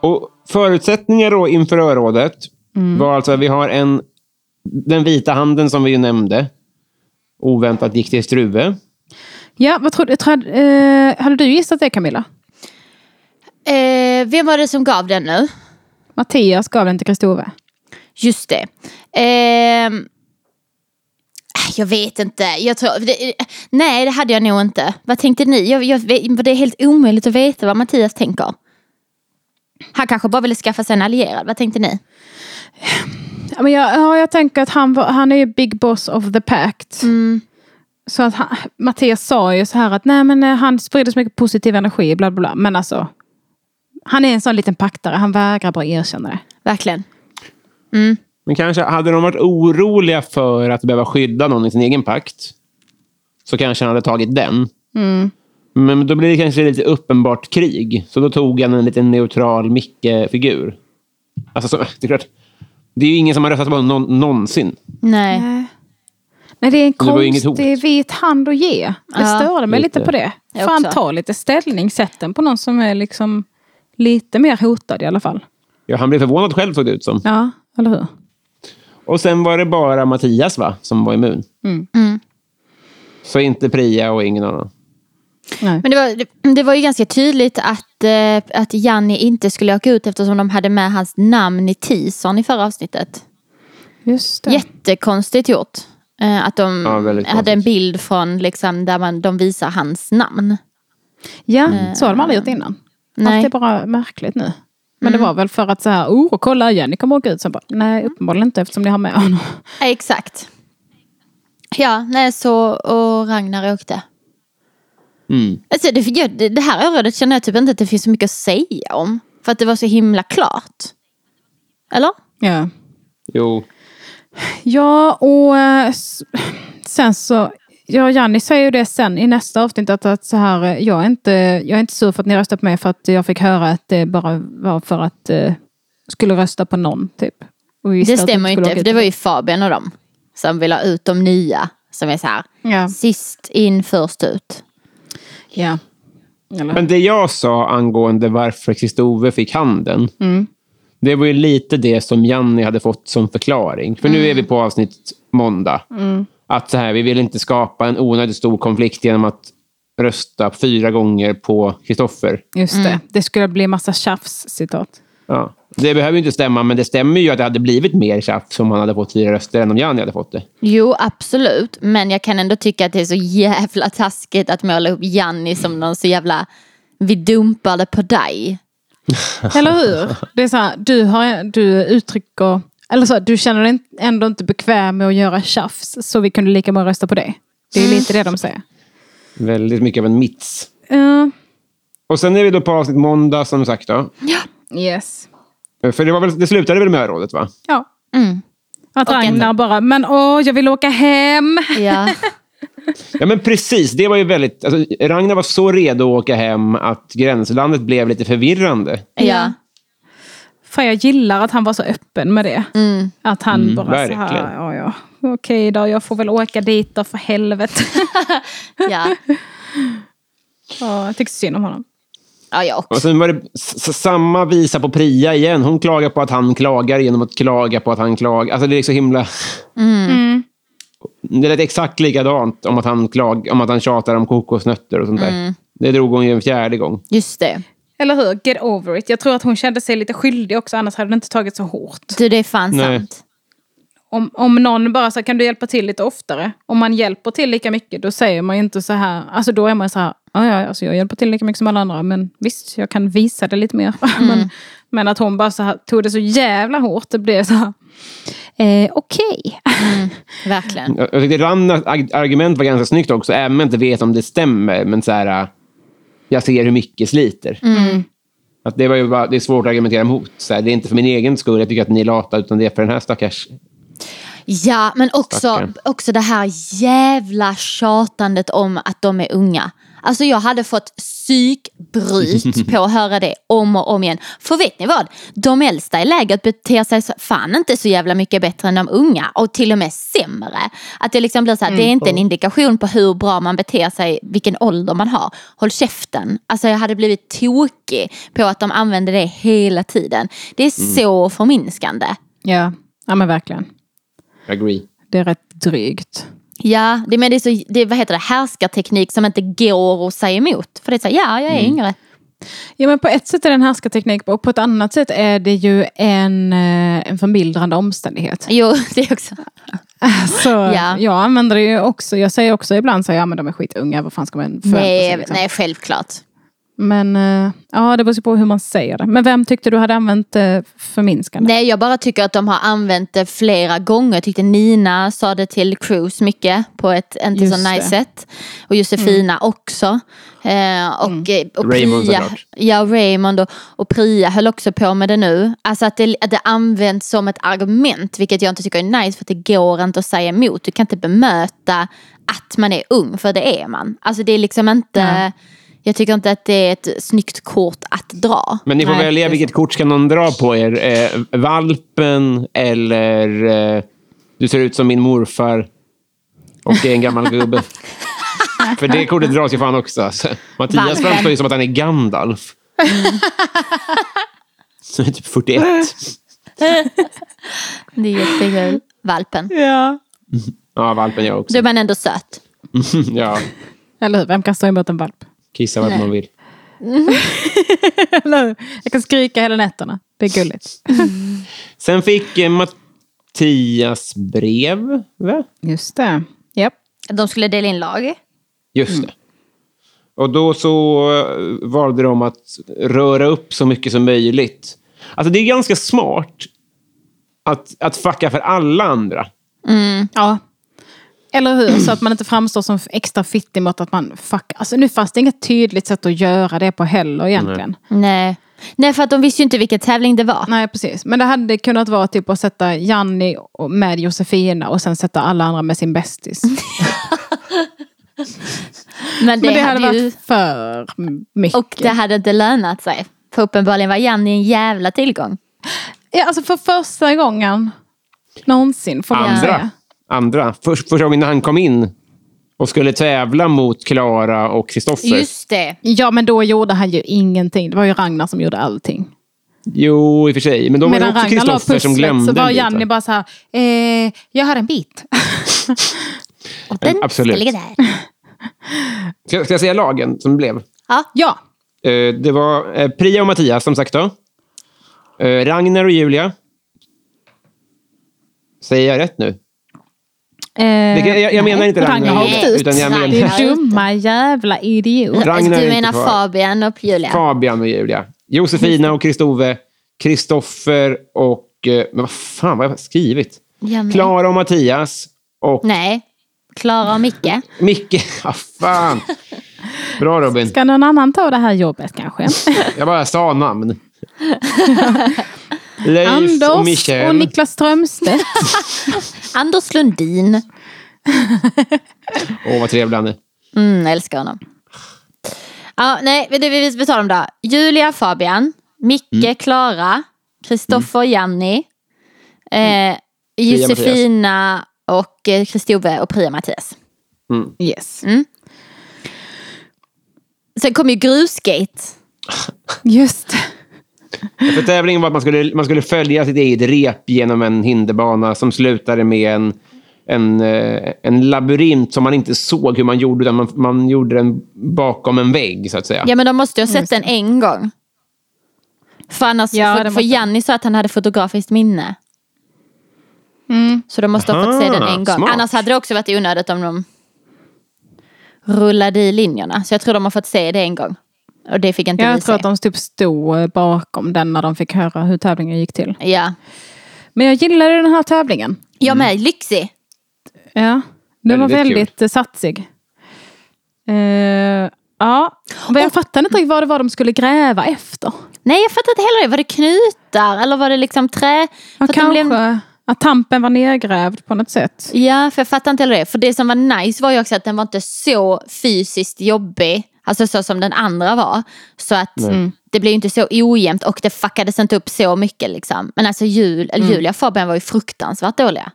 Speaker 1: Och förutsättningar då inför örådet var alltså att vi har en, den vita handen som vi ju nämnde. Oväntat gick till Struve.
Speaker 2: Ja, vad trodde, trad, eh, hade du gissat det Camilla?
Speaker 3: Eh, vem var det som gav den nu?
Speaker 2: Mattias gav den till Kristove.
Speaker 3: Just det. Ehm, äh, jag vet inte. Jag tror, det, nej, det hade jag nog inte. Vad tänkte ni? Jag, jag, vet- det är helt omöjligt att veta vad Mattias tänker. Han kanske bara ville skaffa sig en allierad. Vad tänkte ni?
Speaker 2: Ja, men jag, ja, jag tänker att han, var, han är ju big boss of the pact.
Speaker 3: Mm.
Speaker 2: Så att han, Mattias sa ju så här att nej men eh, han sprider så mycket positiv energi, bla bla bla. Men alltså. Han är en sån liten paktare, han vägrar bara erkänna det.
Speaker 3: Verkligen.
Speaker 1: Men kanske hade de varit oroliga för att behöva skydda någon i sin egen pakt så kanske han hade tagit den. Men då blir det kanske lite uppenbart krig. Så då tog han en liten neutral Micke-figur. Alltså, så, det, är klart, det är ju ingen som har röstat på honom någon, någonsin.
Speaker 3: Nej.
Speaker 2: Nej det är en
Speaker 1: Det var ju inget
Speaker 2: konstig
Speaker 1: hot.
Speaker 2: vit hand att ge. Det
Speaker 3: Ja,
Speaker 2: störde mig lite,
Speaker 1: lite.
Speaker 2: på det.
Speaker 3: Jag
Speaker 2: Fan
Speaker 3: också.
Speaker 2: ta lite ställning, sätt den på någon som är liksom lite mer hotad i alla fall.
Speaker 1: Ja, han blev förvånad själv, såg det ut som.
Speaker 2: Ja, eller hur?
Speaker 1: Och sen var det bara Mattias va, som var immun.
Speaker 3: Mm.
Speaker 1: Så inte Priya och ingen annan.
Speaker 2: Nej.
Speaker 3: Men det var, det, det var ju ganska tydligt att, eh, att Janni inte skulle åka ut eftersom de hade med hans namn i teasern i förra avsnittet.
Speaker 2: Just det.
Speaker 3: Jättekonstigt gjort. Eh, att de
Speaker 1: Ja, väldigt
Speaker 3: hade en
Speaker 1: konstigt.
Speaker 3: bild från liksom, där man, de visar hans namn.
Speaker 2: Ja, så har de aldrig gjort innan.
Speaker 3: Eh, Nej. Mm.
Speaker 2: Allt är bara märkligt nu. Men det var väl för att så här, oh, kolla igen, ni kommer åka ut. Sen bara, nej, uppenbarligen inte eftersom ni har med honom.
Speaker 3: Ja, Exakt. Ja, nej, så och Ragnar åkte.
Speaker 1: Mm.
Speaker 3: Alltså, det, jag, det det här örådet känner jag typ inte att det finns så mycket att säga om. För att det var så himla klart. Eller?
Speaker 2: Ja,
Speaker 1: Jo.
Speaker 2: ja och eh, s- sen så, ja, Janni säger ju det sen i nästa avsnitt att, att så här, eh, jag, är inte, jag är inte sur för att ni röstat på mig för att jag fick höra att det bara var för att eh, skulle rösta på någon, typ. Och vi visste
Speaker 3: Det
Speaker 2: att de
Speaker 3: stämmer ju
Speaker 2: skulle
Speaker 3: inte.
Speaker 2: åka
Speaker 3: För
Speaker 2: ut.
Speaker 3: det var ju Fabian och dem. Som vill ha ut de nya. Som är så här.
Speaker 2: Ja.
Speaker 3: Sist in först ut.
Speaker 2: ja. Eller?
Speaker 1: Men det jag sa angående varför Kristove fick handen. Det var ju lite det som Janni hade fått som förklaring. För nu är vi på avsnitt måndag. Att så här, vi vill inte skapa en onödigt stor konflikt genom att rösta fyra gånger på Kristoffer.
Speaker 2: Just
Speaker 3: Mm.
Speaker 2: det, det skulle bli massa tjafs, citat.
Speaker 1: Ja. Det behöver ju inte stämma, men det stämmer ju att det hade blivit mer tjafs om han hade fått fyra röster än om Janni hade fått det.
Speaker 3: Jo, absolut. Men jag kan ändå tycka att det är så jävla taskigt att måla upp Janni som någon så jävla... Vi dumpade på dig.
Speaker 2: Eller hur? Det är så här, du, har, du uttrycker... Eller så, här, du känner dig ändå inte bekväm med att göra tjafs, så vi kunde lika bra rösta på dig. Det är lite det de säger.
Speaker 1: Väldigt mycket av en mits.
Speaker 2: Eh,
Speaker 1: Och sen är vi då på avsnitt måndag, som sagt. Då.
Speaker 2: yes.
Speaker 1: För det, var väl, det slutade väl med örådet, va?
Speaker 2: Ja.
Speaker 3: Mm.
Speaker 2: Att
Speaker 3: Och en-
Speaker 2: Ragnar bara, men åh, jag vill åka hem.
Speaker 3: Ja.
Speaker 1: Ja, men precis. Det var ju väldigt... Alltså, Ragnar var så redo att åka hem att gränslandet blev lite förvirrande.
Speaker 3: ja.
Speaker 2: För jag gillar att han var så öppen med det.
Speaker 3: mm,
Speaker 2: Att han bara så här,
Speaker 1: verkligen.
Speaker 2: ja, ja. okej då, jag får väl åka dit då för helvete.
Speaker 3: ja.
Speaker 2: ja, jag tycker synd om honom.
Speaker 3: Ja, jag
Speaker 1: Och
Speaker 3: också.
Speaker 1: sen var det s- s- samma visa på Priya igen. Hon klagar på att han klagar genom att klaga på att han klagar. Alltså, det är så himla...
Speaker 3: Mm.
Speaker 2: Mm.
Speaker 1: Det lät exakt likadant om att han, klag, om att han tjatar om kokosnötter och sånt där. Det drog hon ju en fjärde gång.
Speaker 3: Just det.
Speaker 2: Eller hur? Get over it. Jag tror att hon kände sig lite skyldig också, annars hade det inte tagit så hårt.
Speaker 3: Du, det är fan
Speaker 1: Nej.
Speaker 3: sant.
Speaker 2: Om, om någon bara så här, kan du hjälpa till lite oftare? Om man hjälper till lika mycket, då säger man ju inte så här, alltså då är man så här, ja ja, alltså jag hjälper till lika mycket som alla andra, men visst, jag kan visa det lite mer. men, men att hon bara så här, tog det så jävla hårt, det blev så här, eh, okej.
Speaker 3: Verkligen.
Speaker 1: Jag jag tyckte Rannas ag- argument var ganska snyggt också, även om jag inte vet om det stämmer. Men så här, äh, jag ser hur mycket sliter. Att det, var ju bara, det är svårt att argumentera emot. Så här, det är inte för min egen skull, jag tycker att ni är lata, utan det är för den här stackars...
Speaker 3: Ja, men också,
Speaker 1: Stackare.
Speaker 3: också det här jävla tjatandet om att de är unga. Alltså jag hade fått psykbryt på att höra det om och om igen. För vet ni vad? De äldsta i lägret beter sig så- fan inte så jävla mycket bättre än de unga och till och med sämre. Att det liksom blir så här, det är inte en indikation på hur bra man beter sig, vilken ålder man har. Håll käften. Alltså jag hade blivit tokig på att de använder det hela tiden. Det är så förminskande.
Speaker 2: Ja. ja, men verkligen.
Speaker 1: Agree.
Speaker 2: Det är rätt drygt.
Speaker 3: Ja, det, men det är så, det, vad heter det, härskarteknik som inte går att säga emot. För det är så här, ja, jag är yngre.
Speaker 2: Ja, men på ett sätt är det en härskarteknik och på ett annat sätt är det ju en, eh, en förmildrande omständighet.
Speaker 3: Jo, det också.
Speaker 2: Alltså,
Speaker 3: Ja.
Speaker 2: Jag använder det ju också. Jag säger också ibland så här, ja men de är skitunga, vad fan ska man förvänta sig?
Speaker 3: Nej,
Speaker 2: liksom?
Speaker 3: nej, självklart.
Speaker 2: Men eh, ja, det beror ju på hur man säger det. Men vem tyckte du hade använt eh, förminskande?
Speaker 3: Nej, jag bara tycker att de har använt det flera gånger. Jag tyckte Nina sa det till Cruise mycket på ett inte
Speaker 2: Just
Speaker 3: så nice
Speaker 2: det.
Speaker 3: sätt. Och Josefina också. Eh,
Speaker 2: Mm.
Speaker 3: och, eh, och
Speaker 1: Raymond
Speaker 3: Priya,
Speaker 1: såklart.
Speaker 3: ja, och Raymond och, och Priya höll också på med det nu. Alltså att det, att det används som ett argument, vilket jag inte tycker är nice för att det går inte att säga emot. Du kan inte bemöta att man är ung, för det är man. Alltså det är liksom inte...
Speaker 2: Nej.
Speaker 3: Jag tycker inte att det är ett snyggt kort att dra.
Speaker 1: Men ni får
Speaker 2: Nej, det
Speaker 1: välja
Speaker 2: är
Speaker 1: vilket kort ska någon dra på er. Eh, valpen eller eh, du ser ut som min morfar och är en gammal gubbe. För det kortet dras ju fan också. Alltså. Mattias
Speaker 3: Valpen.
Speaker 1: framstår ju som att han är Gandalf.
Speaker 2: Mm.
Speaker 1: Som är typ 41.
Speaker 3: Det är jättekul. Valpen.
Speaker 2: Ja.
Speaker 1: Ja, valpen jag också.
Speaker 3: Då är man ändå söt.
Speaker 1: Ja,
Speaker 2: Eller hur, vem kan stå emot en valp?
Speaker 1: kissa vad man vill.
Speaker 2: Eller hur? Jag kan skrika hela nätterna. Det är gulligt.
Speaker 1: Sen fick eh, Mattias brev. Va?
Speaker 2: Just det. Japp.
Speaker 3: De skulle dela in lag.
Speaker 1: Just
Speaker 2: Mm.
Speaker 1: det. Och då så eh, valde de att röra upp så mycket som möjligt. Alltså det är ganska smart att, att fucka för alla andra.
Speaker 3: Mm.
Speaker 2: Ja. Eller hur? Så att man inte framstår som extra fittig mot att man fuck. Alltså nu fanns det inget tydligt sätt att göra det på heller egentligen. Nej,
Speaker 3: Nej. Nej, för att de visste ju inte vilken tävling det var.
Speaker 2: precis. Men det hade kunnat vara typ att sätta Janni och- med Josefina och sen sätta alla andra med sin bästis.
Speaker 3: Men det,
Speaker 2: Men det hade
Speaker 3: hade, ju...
Speaker 2: varit för mycket.
Speaker 3: Och det hade inte lönat sig. För uppenbarligen var Janni en jävla tillgång.
Speaker 2: Ja, alltså för första gången någonsin får man
Speaker 1: Andra.
Speaker 2: säga.
Speaker 1: andra. Först, första gången när han kom in och skulle tävla mot Klara och Kristoffer.
Speaker 3: Just det.
Speaker 2: Ja, men då gjorde han ju ingenting. Det var ju Ragnar som gjorde allting.
Speaker 1: Jo, i och för sig. Men då var det
Speaker 2: Medan
Speaker 1: också
Speaker 2: Ragnar la
Speaker 1: Kristoffer som
Speaker 2: pusslet
Speaker 1: glömde.
Speaker 2: så var
Speaker 1: lite.
Speaker 2: Janni bara så här, eh, jag har en bit.
Speaker 3: Och den
Speaker 1: absolut.
Speaker 3: ska ligga där.
Speaker 1: Ska, ska jag säga lagen som blev?
Speaker 3: Ja.
Speaker 2: ja,
Speaker 1: Eh, det var eh, Priya och Mattias, som sagt. då. Eh, Ragnar och Julia. Säger jag rätt nu? Det kan- jag- jag menar inte Ragnar
Speaker 2: Eh, Ragnar
Speaker 1: Hult,
Speaker 2: åkte ut.
Speaker 1: utan jag menar-
Speaker 2: Det är dumma jävla idiot.
Speaker 1: Ragnar
Speaker 3: Alltså,
Speaker 1: är
Speaker 3: du
Speaker 1: inte
Speaker 3: menar
Speaker 1: kvar.
Speaker 3: Fabian och Julia.
Speaker 1: Fabian och Julia. Josefina och Kristove. Kristoffer och... eh, Men vad fan, vad har jag skrivit?
Speaker 3: Ja, men-
Speaker 1: Klara och Mattias. Och
Speaker 3: Nej. Klara och Micke.
Speaker 1: Micke. Ah, fan. Bra Robin.
Speaker 2: Ska någon annan ta det här jobbet kanske?
Speaker 1: Jag bara sa namn. Leif
Speaker 2: Anders
Speaker 1: och
Speaker 2: och,
Speaker 1: Michel. Och,
Speaker 2: Niklas Strömstedt.
Speaker 3: Anders Lundin.
Speaker 1: vad trevlig han är.
Speaker 3: Mm, jag älskar honom. Ja, nej, men det vi vi tar dem då. Julia, Fabian, Micke, Klara, Kristoffer, Janni, eh, Josefina och eh, Kristove och Priya Mattias.
Speaker 1: Mm.
Speaker 3: Mm.
Speaker 2: Yes.
Speaker 3: Sen kom ju grusgate.
Speaker 2: Just det.
Speaker 1: För tävlingen var att man skulle, man skulle följa sitt eget rep genom en hinderbana som slutade med en, en, eh, en labyrint som man inte såg hur man gjorde, utan man, man gjorde den bakom en vägg, så att säga.
Speaker 3: Ja, men de måste ju
Speaker 2: Mm,
Speaker 3: ha sett den en gång. För annars,
Speaker 2: Ja, det
Speaker 3: för, för
Speaker 2: måste-
Speaker 3: Janni sa att han hade fotografiskt minne.
Speaker 2: Mm.
Speaker 3: Så de måste ha fått se den
Speaker 1: Aha,
Speaker 2: Ah,
Speaker 3: en gång.
Speaker 1: smart.
Speaker 3: Annars hade det också varit onödigt om de rullade i linjerna. Så jag tror de har fått se det en gång. Och det fick inte vi
Speaker 2: Jag tror
Speaker 3: se.
Speaker 2: att de typ stod bakom den när de fick höra hur tävlingen gick till.
Speaker 3: Ja.
Speaker 2: Men jag gillade den här tävlingen.
Speaker 3: Jag
Speaker 2: Mm.
Speaker 3: med, lyxig.
Speaker 2: Ja, den var
Speaker 1: Väldigt kul.
Speaker 2: väldigt eh, satsig. Eh, ja, men jag fattade inte riktigt vad det var de skulle gräva efter.
Speaker 3: Nej, jag fattar inte heller det. Var det knutar eller var det liksom trä? För
Speaker 2: Ja,
Speaker 3: att de
Speaker 2: kanske
Speaker 3: blev-
Speaker 2: att tampen var nedgrävd på något sätt.
Speaker 3: Ja, för jag fattar inte heller det. För det som var nice var ju också att den var inte så fysiskt jobbig. Alltså så som den andra var. Så att mm, det blev ju inte så ojämnt och det fuckades inte upp så mycket liksom. Men alltså jul, eller Julia och Fabian var ju fruktansvärt dåliga.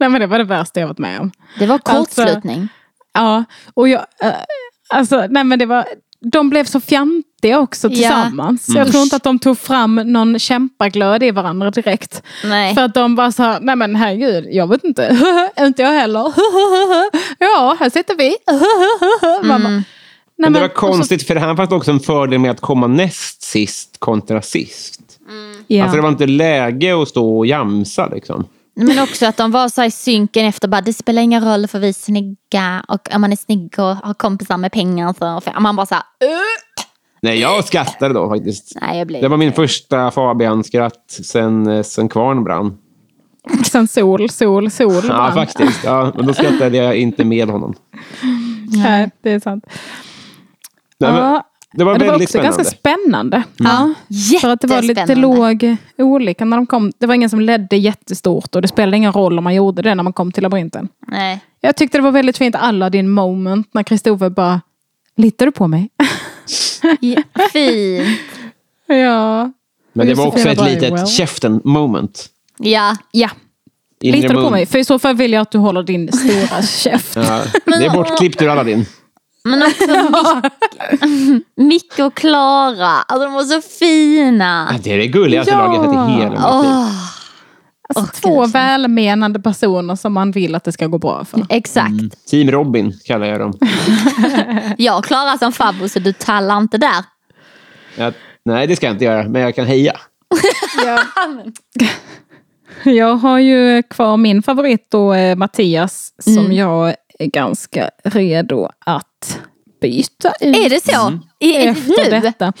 Speaker 2: Nej, men det var det värsta jag varit med om.
Speaker 3: Det var
Speaker 2: Alltså-
Speaker 3: kortslutning.
Speaker 2: Ja, och jag... eh, alltså, nej men det var... De blev så fjantiga också
Speaker 3: Ja. Mm.
Speaker 2: tillsammans. Jag tror inte att de tog fram någon kämpaglöd i varandra direkt.
Speaker 3: Nej.
Speaker 2: För att de bara så här, nej men herregud, jag vet inte. inte jag heller. ja, här sitter vi. Man
Speaker 3: Mm.
Speaker 2: bara, nej,
Speaker 1: Men det
Speaker 2: men-
Speaker 1: var konstigt, för här fanns det också en fördel med att komma näst sist kontra sist.
Speaker 2: och så- Ja.
Speaker 1: Alltså det var inte läge att stå och jamsa liksom.
Speaker 3: Men också att de var så här i synken efter bara det spelar ingen roll för vi är snygga och om man är snygg och har kompisar med pengar så för man bara så här,
Speaker 1: Nej, jag skrattade då faktiskt.
Speaker 3: nej jag blir
Speaker 1: Det var min första Fabian-skratt sen, eh, sen kvarn brann.
Speaker 2: Sen sol, sol, sol.
Speaker 1: Ja,
Speaker 2: brann.
Speaker 1: faktiskt. Ja, men då skrattade jag inte med honom.
Speaker 2: Nej, det är sant.
Speaker 1: Nej, men,
Speaker 2: Ja.
Speaker 1: det var
Speaker 2: Men det var
Speaker 1: väldigt
Speaker 2: också
Speaker 1: spännande. Mm.
Speaker 2: ganska spännande. Ja. För att det var lite
Speaker 3: Jättespännande.
Speaker 2: låg olika när de kom. Det var ingen som ledde jättestort och det spelade ingen roll om man gjorde det när man kom till labyrinten.
Speaker 3: nej.
Speaker 2: Jag tyckte det var väldigt fint Aladdin moment när Kristoffer bara Litar du på mig?
Speaker 3: Ja, Fint.
Speaker 2: ja.
Speaker 1: Men det var
Speaker 2: Josefina
Speaker 1: också ett
Speaker 2: bara,
Speaker 1: litet
Speaker 2: well.
Speaker 1: käften-moment.
Speaker 3: Ja.
Speaker 2: Ja,
Speaker 1: Inre
Speaker 2: litar du på
Speaker 1: mun.
Speaker 2: mig? För i så fall vill jag att du håller din stora käft.
Speaker 1: Ja, det är bortklippt ur Aladdin.
Speaker 3: Men också Mic- Micke och Klara. Alltså de var så fina.
Speaker 1: Ja, Det är det gulligaste
Speaker 2: Ja.
Speaker 1: laget jag sett i hela mitt liv.
Speaker 3: Åh,
Speaker 2: Alltså,
Speaker 3: Åh,
Speaker 2: två
Speaker 3: gud.
Speaker 2: välmenande personer som man vill att det ska gå bra för.
Speaker 3: exakt.
Speaker 2: Mm.
Speaker 1: Team Robin kallar jag dem.
Speaker 3: Jag och Klara som farbror så du tallar inte där.
Speaker 1: Jag, nej, det ska jag inte göra, men jag kan heja.
Speaker 2: Ja. Jag har ju kvar min favorit då, eh, Mattias, som
Speaker 3: Mm.
Speaker 2: jag är ganska redo att byta ut.
Speaker 3: Är det så?
Speaker 2: Mm.
Speaker 3: I, i,
Speaker 2: efter
Speaker 3: nu?
Speaker 2: detta.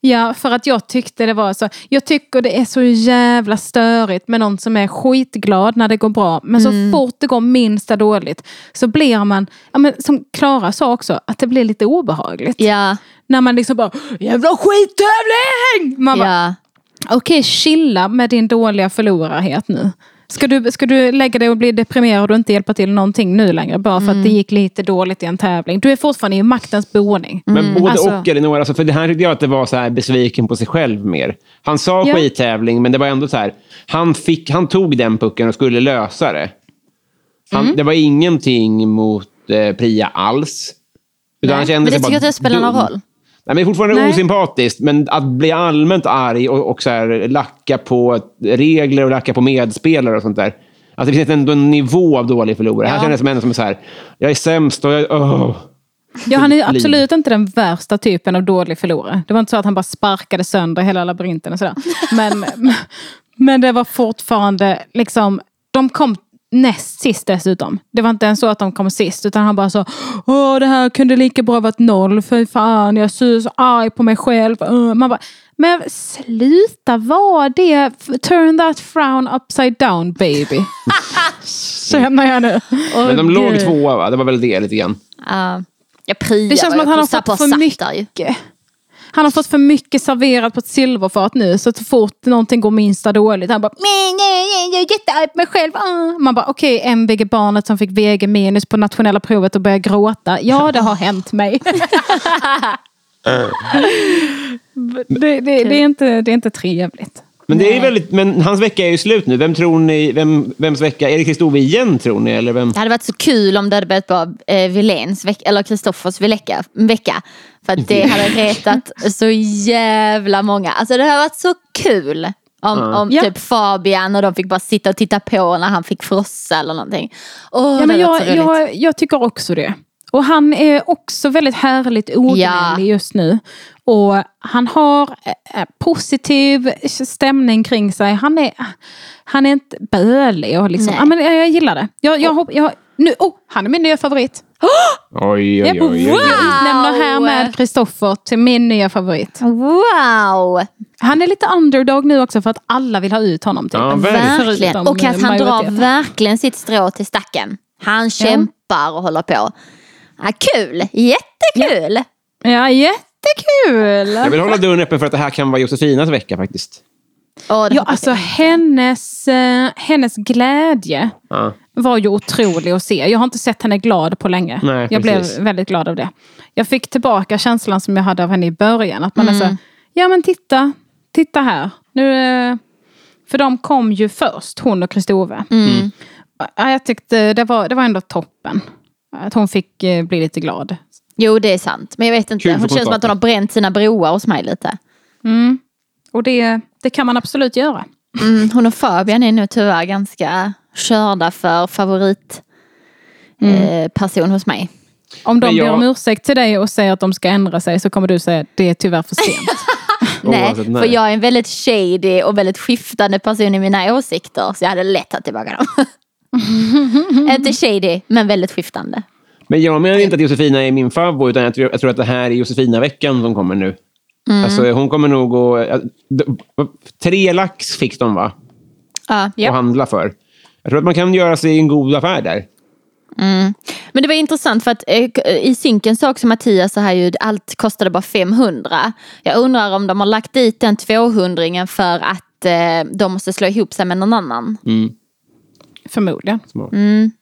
Speaker 2: Ja, för att jag tyckte det var så. Jag tycker det är så jävla störigt med någon som är skitglad när det går bra. Men
Speaker 3: Mm.
Speaker 2: så fort det går minsta dåligt så blir man, ja, men som Klara sa också, att det blir lite obehagligt.
Speaker 3: Ja.
Speaker 2: När man liksom bara, jävla skittävling! Man bara,
Speaker 3: ja.
Speaker 2: Okej, chilla med din dåliga förlorarhet nu. Ska du, ska du lägga dig och bli deprimerad och inte hjälpa till någonting nu längre bara för att det gick lite dåligt i en tävling? Du är fortfarande i maktens boning.
Speaker 1: Men
Speaker 3: Mm.
Speaker 1: både
Speaker 2: Alltså-
Speaker 1: och Elinor, alltså, för det här tyckte jag att det var så här besviken på sig själv mer. Han sa
Speaker 2: Ja.
Speaker 1: skittävling, men det var ändå så här, han, fick, han tog den pucken och skulle lösa det. Han,
Speaker 3: Mm.
Speaker 1: Det var ingenting mot eh, Priya alls. Utan han kände
Speaker 3: Men det
Speaker 1: sig
Speaker 3: tycker
Speaker 1: bara
Speaker 3: jag inte spelar någon
Speaker 1: dum.
Speaker 3: roll.
Speaker 1: Nej, men det är fortfarande
Speaker 2: Nej.
Speaker 1: osympatiskt, men att bli allmänt arg och, och så här, lacka på regler och lacka på medspelare och sånt där. Alltså, det finns ändå en nivå av dålig förlorare. Här känner jag som en som är så här, jag är sämst och jag... åh.
Speaker 2: Ja, han är ju
Speaker 1: liv.
Speaker 2: absolut inte den värsta typen av dålig förlorare. Det var inte så att han bara sparkade sönder hela labyrinten och sådär. Men, men det var fortfarande liksom, de kom näst sist dessutom. Det var inte ens så att de kom sist, utan han bara så Åh, det här kunde lika bra varit noll, för fan, jag är så arg på mig själv. Åh, Man bara, men sluta vara det. Turn that frown upside down baby. Känner jag nu.
Speaker 1: Men de låg tvåa, va? Det var väl det lite grann.
Speaker 3: Ja. Jag priar
Speaker 2: Det känns som att han har
Speaker 3: Kossa
Speaker 2: fått
Speaker 3: på
Speaker 2: för
Speaker 3: satt där ju.
Speaker 2: mycket. Han har fått för mycket serverat på ett silverfat nu. Så att så fort någonting går minsta dåligt, han bara nej, nej, nej, jag är jättearg på mig själv. Ah. Man bara okej, okay, MVG-barnet som fick VG minus på nationella provet och började gråta. Ja, det har hänt mig. det, det, det, är inte, det är inte trevligt.
Speaker 1: Men, det är väldigt, men hans vecka är ju slut nu. Vem tror ni, vem, vems vecka? Är det Kristove igen, tror ni? Eller vem?
Speaker 3: Det hade varit så kul om det hade börjat vara eh, Viléns veck- eller Kristoffers vecka, vecka. För att det hade retat så jävla många. Alltså det hade varit så kul. Om, om
Speaker 2: Ja.
Speaker 3: typ Fabian och de fick bara sitta och titta på när han fick frossa eller någonting. Åh,
Speaker 2: Ja,
Speaker 3: det
Speaker 2: men
Speaker 3: hade varit
Speaker 2: jag,
Speaker 3: så roligt.
Speaker 2: jag, jag tycker också det. Och han är också väldigt härligt ognällig
Speaker 3: Ja.
Speaker 2: just nu. Och han har eh, positiv stämning kring sig. Han är, han är inte bölig. Och liksom,
Speaker 3: Nej.
Speaker 2: ja, men jag, jag gillar det. Jag, jag, hopp, jag, Nu, oh, han är min nya favorit.
Speaker 1: Oj,
Speaker 2: Jag
Speaker 1: oj, oj. oj,
Speaker 2: wow!
Speaker 1: oj.
Speaker 2: utnämner härmed Kristoffer till min nya favorit.
Speaker 3: Wow!
Speaker 2: Han är lite underdog nu också för att alla vill ha ut honom. Typ.
Speaker 1: Ja, verkligen.
Speaker 3: Verkligen.
Speaker 2: Förutom
Speaker 3: Och att han drar
Speaker 2: majoriteten.
Speaker 3: verkligen sitt strå till stacken. Han kämpar och håller på. Ja, kul! Jättekul!
Speaker 2: Ja,
Speaker 1: Jag
Speaker 2: jättekul!
Speaker 1: vill hålla dörren öppen för att det här kan vara Josefinas vecka faktiskt.
Speaker 3: Och det-
Speaker 2: Ja, alltså hennes, eh, hennes glädje
Speaker 1: Ja.
Speaker 2: var ju otrolig att se. Jag har inte sett henne glad på länge.
Speaker 1: Nej,
Speaker 2: jag blev
Speaker 1: precis.
Speaker 2: väldigt glad av det. Jag fick tillbaka känslan som jag hade av henne i början. Att man är så
Speaker 1: Mm.
Speaker 2: här, ja men titta, titta här. Nu, eh, för de kom ju först, hon och Kristove.
Speaker 3: Mm.
Speaker 2: Ja, jag tyckte det var, det var ändå toppen. Att hon fick eh, bli lite glad.
Speaker 3: Jo, det är sant. Men jag vet inte.
Speaker 1: Kul för
Speaker 3: Hon känns som att hon
Speaker 1: kontakten.
Speaker 3: har bränt sina broar hos mig lite.
Speaker 2: Mm. Och det, det kan man absolut göra.
Speaker 3: Mm, hon och Fabian är nu tyvärr ganska körda för favoritperson
Speaker 1: Mm.
Speaker 3: eh, person hos mig.
Speaker 2: Om de
Speaker 1: Men jag-
Speaker 2: ber om ursäkt till dig och säger att de ska ändra sig så kommer du säga det är tyvärr för sent.
Speaker 3: Nej,
Speaker 1: Oavsett, nej.
Speaker 3: för jag är en väldigt shady och väldigt skiftande person i mina åsikter. Så jag hade lätt tagit tillbaka dem. Inte shady, men väldigt skiftande.
Speaker 1: Men jag menar inte att Josefina är min favorit, utan jag tror, jag tror att det här är Josefina-veckan som kommer nu.
Speaker 3: Mm.
Speaker 1: Alltså, hon kommer nog att... eh, Tre lax fick de, va?
Speaker 3: Ja.
Speaker 2: Ja.
Speaker 1: Att handla för. Jag tror att man kan göra sig en god affär där.
Speaker 3: Men det var intressant för att eh, k- i synken sa också Mattias så här ju, allt kostade bara 500. Jag undrar om de har lagt dit den 200 för att eh, de måste slå ihop sig med någon annan.
Speaker 2: Förmodligen.
Speaker 1: Smart.
Speaker 2: Men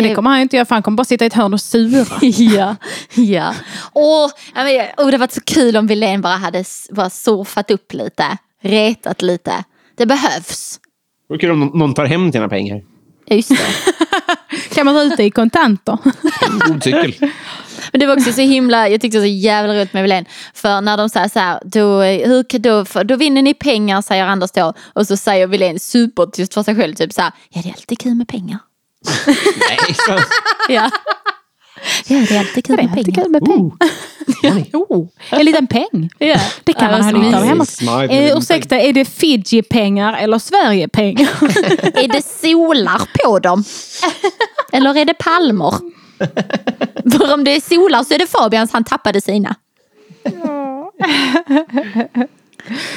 Speaker 2: Mm. det kommer han ju inte göra för han kommer bara sitta i ett hörn och sura.
Speaker 3: ja, ja. Åh, ja, men, jag- åh, det hade varit så kul om Wilén bara hade s- bara surfat upp lite, retat lite. Det behövs.
Speaker 1: Det vore kul om nå- någon tar hem dina pengar.
Speaker 3: Ja, Just det.
Speaker 2: Kan man ta ut det i kontanter?
Speaker 1: God cykel.
Speaker 3: Men det var också så himla, jag tyckte det var så jävla roligt med Wilén. För när de säger så här, då, hur, kan- då, för, då vinner ni pengar säger Anders då. Och så säger Wilén supertyst för sig själv typ så här, ja det är alltid kul med pengar.
Speaker 1: Nej, så.
Speaker 3: Ja. Ja, det är alltid kul
Speaker 2: Det är
Speaker 3: med
Speaker 2: alltid
Speaker 3: pengar.
Speaker 2: kul med pengar.
Speaker 1: Oh,
Speaker 2: Oh, en liten peng.
Speaker 3: Ja.
Speaker 2: Det kan
Speaker 3: Ja,
Speaker 2: man ha
Speaker 3: så
Speaker 2: nytta av
Speaker 3: mysigt.
Speaker 2: hemma.
Speaker 1: Smart.
Speaker 2: Alltså, Eh, ursäkta, är det Fiji-pengar eller Sverige-pengar?
Speaker 3: Är det solar på dem? Eller är det palmer? För om det är solar så är det Fabians, han tappade sina.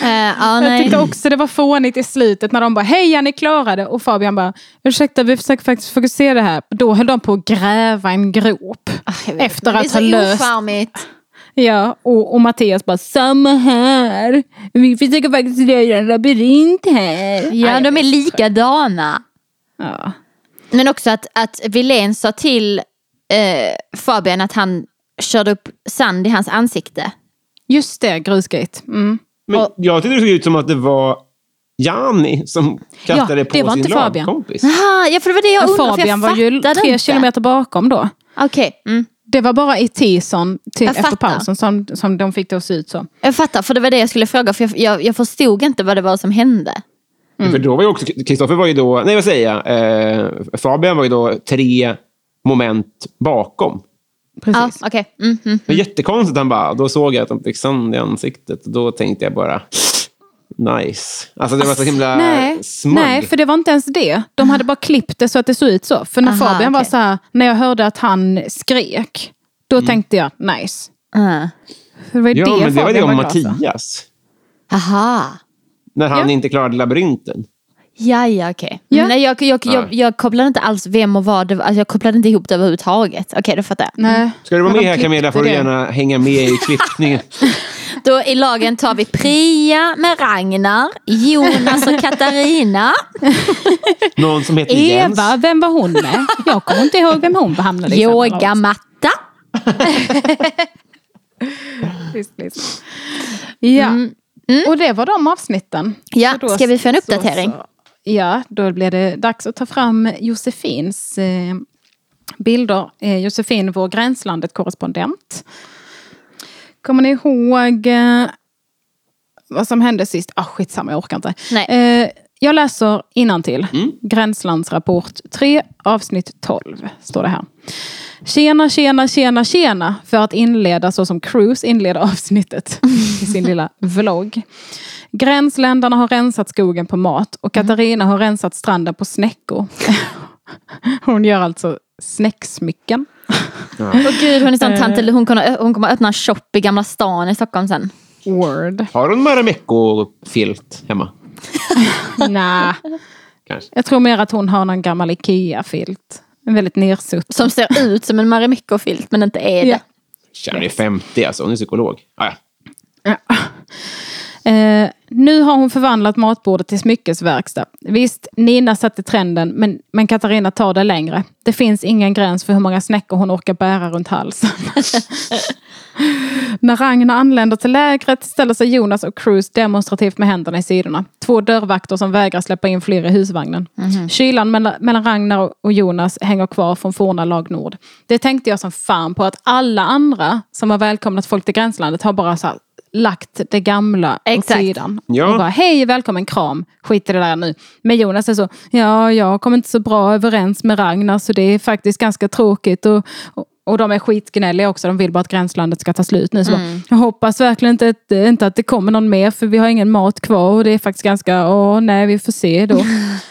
Speaker 3: Eh, ja,
Speaker 2: Jag
Speaker 3: nej.
Speaker 2: tyckte också det var fånigt i slutet när de bara heja ni klarade och Fabian bara ursäkta vi försöker faktiskt fokusera här. Då höll de på att gräva en grop.
Speaker 3: Ah,
Speaker 2: Efter
Speaker 3: det är
Speaker 2: att ha
Speaker 3: så
Speaker 2: löst.
Speaker 3: ocharmigt.
Speaker 2: Ja, och, och Mattias bara samma här. Vi försöker faktiskt göra en labyrint här.
Speaker 3: Ja, de är likadana.
Speaker 2: Ja.
Speaker 3: Men också att, att Wilén sa till eh, Fabian att han körde upp sand i hans ansikte.
Speaker 2: Just det, grusgate. Mm.
Speaker 1: Men jag tyckte det såg ut som att det var Jani som kastade
Speaker 2: Ja, det
Speaker 1: på
Speaker 2: var
Speaker 1: sin
Speaker 2: inte Fabian. Mm.
Speaker 1: lagkompis.
Speaker 3: Aha, ja, för det var det jag undrade, för jag
Speaker 2: Fabian var ju
Speaker 3: fattade
Speaker 2: tre
Speaker 3: inte.
Speaker 2: kilometer bakom då.
Speaker 3: Okej, mm.
Speaker 2: Det var bara i tison till
Speaker 3: Jag
Speaker 2: efter
Speaker 3: fattar.
Speaker 2: pausen som, som de fick det att se ut så.
Speaker 3: jag fattar. För det var det jag skulle fråga, för jag, jag, jag förstod inte vad det var som hände.
Speaker 1: För då var ju också, Kristoffer var ju då, nej vad säger jag, eh, Fabian var ju då tre moment bakom.
Speaker 3: Ja,
Speaker 2: Precis.
Speaker 3: okej. Mm, mm.
Speaker 1: Det var jättekonstigt, han bara, då såg jag att de fick sand i ansiktet. Då tänkte jag bara, nice. Alltså det var så himla
Speaker 2: Nej,
Speaker 1: smug.
Speaker 2: nej, för det var inte ens det. De hade bara klippt det så att det såg ut så. För när
Speaker 3: Aha,
Speaker 2: Fabian var
Speaker 3: okej.
Speaker 2: så här, när jag hörde att han skrek, då tänkte jag nice.
Speaker 3: Ah.
Speaker 2: För det var ju
Speaker 1: ja,
Speaker 2: det
Speaker 1: men det var
Speaker 2: Fabian
Speaker 1: det om
Speaker 2: glad för.
Speaker 1: Mattias.
Speaker 3: Aha.
Speaker 1: När han
Speaker 2: Ja.
Speaker 1: inte klarade labyrinten.
Speaker 3: Ja, ja, okej.
Speaker 2: Ja.
Speaker 3: Nej, jag, jag, jag, jag kopplade inte alls vem och vad. Det, var. alltså, jag kopplade inte ihop det överhuvudtaget. Okej, då fattar jag.
Speaker 2: Nej.
Speaker 1: Ska du vara
Speaker 2: Men
Speaker 1: med
Speaker 2: de
Speaker 1: här Camilla får du
Speaker 2: klippte det.
Speaker 1: gärna hänga med i klippningen.
Speaker 3: Då i lagen tar vi Priya med Ragnar, Jonas och Katarina.
Speaker 1: Någon som heter Jens.
Speaker 2: Eva, vem var hon med? Jag kommer inte ihåg vem hon hamnade i. samma
Speaker 3: Yogamatta.
Speaker 2: avsnitt. Ja, och det var de avsnitten.
Speaker 3: Mm. Ja,
Speaker 2: Och då
Speaker 3: ska vi få en
Speaker 2: så-
Speaker 3: uppdatering?
Speaker 2: så- Ja, då blir det dags att ta fram Josefins eh, bilder. Eh, Josefin, vår Gränslandet-korrespondent. Kommer ni ihåg eh, vad som hände sist? Ah, skitsamma, jag orkar inte.
Speaker 3: Nej.
Speaker 2: Eh, jag läser innantill. Gränslandsrapport 3, avsnitt 12, står det här. Tjena, tjena, tjena, tjena. För att inleda så som Cruise inleder avsnittet i sin lilla vlogg. Gränsländerna har rensat skogen på mat och Katarina har rensat stranden på snäckor. Hon gör alltså snäcksmycken.
Speaker 3: Och gud, hon är
Speaker 2: Eh.
Speaker 3: sån tant, hon kommer, hon kommer öppna en shop i Gamla stan i Stockholm sen.
Speaker 2: Word.
Speaker 1: Har hon Marimekko-filt hemma?
Speaker 2: Nej.
Speaker 1: Kanske.
Speaker 2: Jag tror mer att hon har någon gammal Ikea-filt. En väldigt nersutt.
Speaker 3: Som ser ut som en Marimekko-filt men inte är det.
Speaker 2: Ja.
Speaker 1: Tja, Hon är 50 alltså, hon är psykolog. Ah, ja.
Speaker 2: Eh, nu har hon förvandlat matbordet till smyckesverkstad. Visst, Nina satte trenden, men, men Katarina tar det längre. Det finns ingen gräns för hur många snäckor hon orkar bära runt halsen. När Ragnar anländer till lägret ställer sig Jonas och Cruz demonstrativt med händerna i sidorna. Två dörrvakter som vägrar släppa in fler i husvagnen. Kylan mella- mellan Ragnar och Jonas hänger kvar från forna lag Nord. Det tänkte jag som fan på att alla andra som har välkomnat folk till gränslandet har bara så här lagt det gamla åt
Speaker 3: Exakt.
Speaker 2: sidan.
Speaker 1: Ja.
Speaker 2: Och bara hej, välkommen, kram. Skit i det där nu. Men Jonas är så, ja, jag kom inte så bra överens med Ragnar så det är faktiskt ganska tråkigt. Och, och, och de är skitgnälliga också, de vill bara att gränslandet ska ta slut nu. Så bara, jag hoppas verkligen inte att, inte att det kommer någon mer för vi har ingen mat kvar och det är faktiskt ganska, åh nej, vi får se då.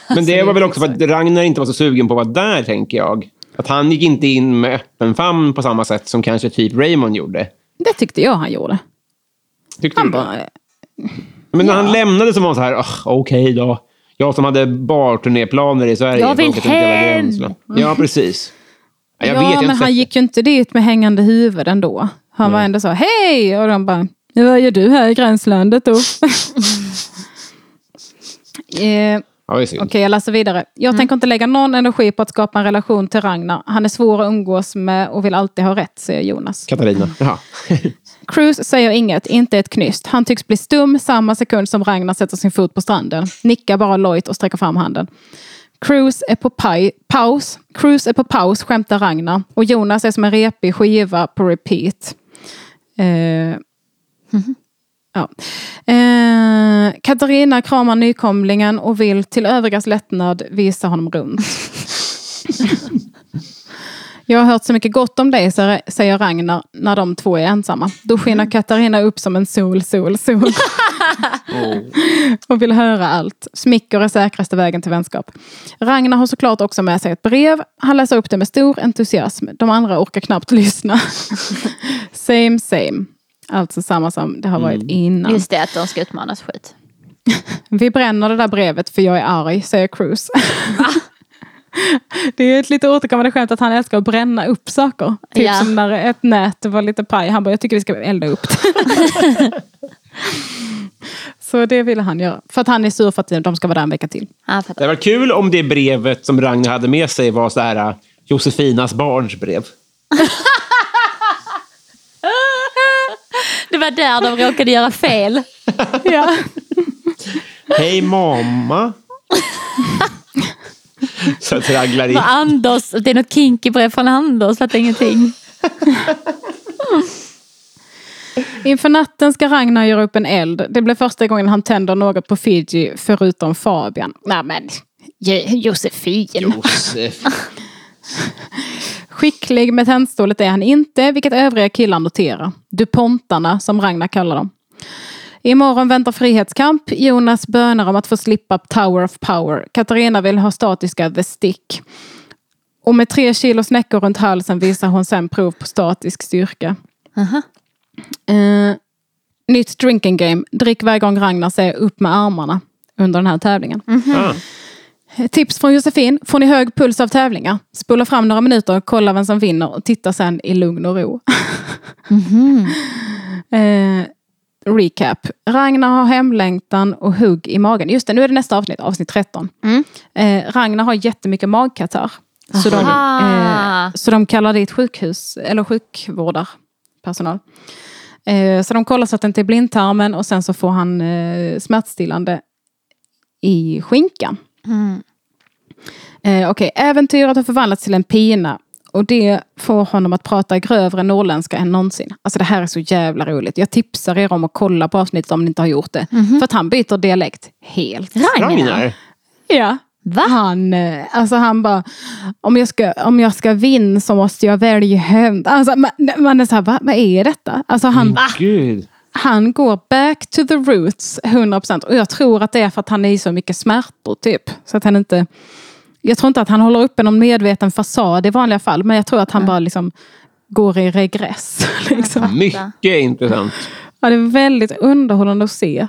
Speaker 1: Men det var väl också för att Ragnar inte var så sugen på att vara där, tänker jag. Att han gick inte in med öppen famn på samma sätt som kanske typ Raymond gjorde.
Speaker 2: det tyckte jag han gjorde.
Speaker 1: Tyckte
Speaker 2: Han
Speaker 1: du? det?
Speaker 2: bara, eh,
Speaker 1: Men när han lämnade så var han så här, "Ah, okej då. Jag som hade barturnéplaner i Sverige.
Speaker 3: Jag vill
Speaker 1: åkte till hela
Speaker 3: hem!
Speaker 1: gränsen. Ja, precis. Ja, Jag
Speaker 2: ja,
Speaker 1: vet, jag har
Speaker 2: men
Speaker 1: inte
Speaker 2: han
Speaker 1: sett
Speaker 2: gick ju inte dit med hängande huvud ändå. Han var ändå så, hej! Och de bara, vad gör du här i gränslandet då? eh,
Speaker 1: Ja, det är synd.
Speaker 2: Okej, jag läser vidare. Jag
Speaker 1: Mm.
Speaker 2: tänker inte lägga någon energi på att skapa en relation till Ragnar. Han är svår att umgås med och vill alltid ha rätt, säger Jonas.
Speaker 1: Katarina. Jaha.
Speaker 2: Cruz säger inget, inte ett knyst. Han tycks bli stum samma sekund som Ragnar sätter sin fot på stranden. Nickar bara lojt och sträcker fram handen. Cruz är på paj, paus. Cruz är på paus, skämtar Ragnar. Och Jonas är som en repig skiva på repeat. Eh, Ja. Eh, Katarina kramar nykomlingen och vill till övrigas lättnad visa honom runt. Jag har hört så mycket gott om dig, sä- säger Ragnar, när de två är ensamma. Då skiner Katarina upp som en sol, sol, sol. och vill höra allt. Smicker är säkraste vägen till vänskap. Ragnar har såklart också med sig ett brev. Han läser upp det med stor entusiasm. De andra orkar knappt lyssna. same, same. Alltså samma som det har varit innan.
Speaker 3: Just det, att de ska utmanas skit.
Speaker 2: Vi bränner det där brevet för jag är arg, säger Cruz. Det är ett lite återkommande skämt att han älskar att bränna upp saker. Typ
Speaker 3: Ja.
Speaker 2: som när ett nät var lite paj. Han bara, jag tycker vi ska elda upp det. Så det ville han göra. För att han är sur för att de ska vara där en vecka till.
Speaker 3: Ja, jag fattar.
Speaker 1: Det hade varit kul om det brevet som Ragnar hade med sig var så här äh, Josefinas barns brev.
Speaker 3: det var där de råkade göra fel.
Speaker 2: Ja.
Speaker 1: Hej mamma. så att raglar in.
Speaker 3: För Anders, det är något kinky brev från Anders, fattar ingenting.
Speaker 2: Inför natten ska Ragnar göra upp en eld. Det blir första gången han tänder något på Fiji, förutom Fabian. Nej men, Je- Josefin.
Speaker 1: Josef.
Speaker 2: Skicklig med tändstålet är han inte, vilket övriga killar noterar. Dupontarna, som Ragnar kallar dem. Imorgon väntar frihetskamp. Jonas bönar om att få slippa Tower of Power. Katarina vill ha statiska The Stick. Och med tre kilo snäckor runt halsen visar hon sen prov på statisk styrka. Eh, nytt drinking game. Drick varje gång Ragnar säger upp med armarna under den här tävlingen.
Speaker 1: Ah.
Speaker 2: Tips från Josefin. Får ni hög puls av tävlingar? Spola fram några minuter, kolla vem som vinner och titta sen i lugn och ro. eh, recap. Ragnar har hemlängtan och hugg i magen. Just det, nu är det nästa avsnitt, avsnitt 13. Eh, Ragnar har jättemycket magkatarr.
Speaker 3: Ah,
Speaker 2: Så de,
Speaker 3: Aha.
Speaker 2: eh, så de kallar dit sjukhus, eller sjukvårdarpersonal. Eh, så de kollar så att det inte är blindtarmen och sen så får han eh, smärtstillande i skinkan. Eh, Okej, äventyret har förvandlats till en pina. Och det får honom att prata grövre norrländska än någonsin. Alltså det här är så jävla roligt. Jag tipsar er om att kolla på avsnittet om ni inte har gjort det. För att han byter dialekt helt.
Speaker 3: Ragnar?
Speaker 1: Ragnar.
Speaker 2: Ja. Han, eh, alltså han bara, om jag ska, om jag ska vinna så måste jag välja hämnd. Alltså, man, man är så här, Va, vad är detta? Alltså han,
Speaker 1: Mm. Gud.
Speaker 2: han går back to the roots 100%. Och jag tror att det är för att han är i så mycket smärtor typ. Så att han inte Jag tror inte att han håller uppe någon medveten fasad i vanliga fall. Men jag tror att han bara liksom går i regress. Liksom.
Speaker 1: Mycket intressant.
Speaker 2: Ja, det är väldigt underhållande att se.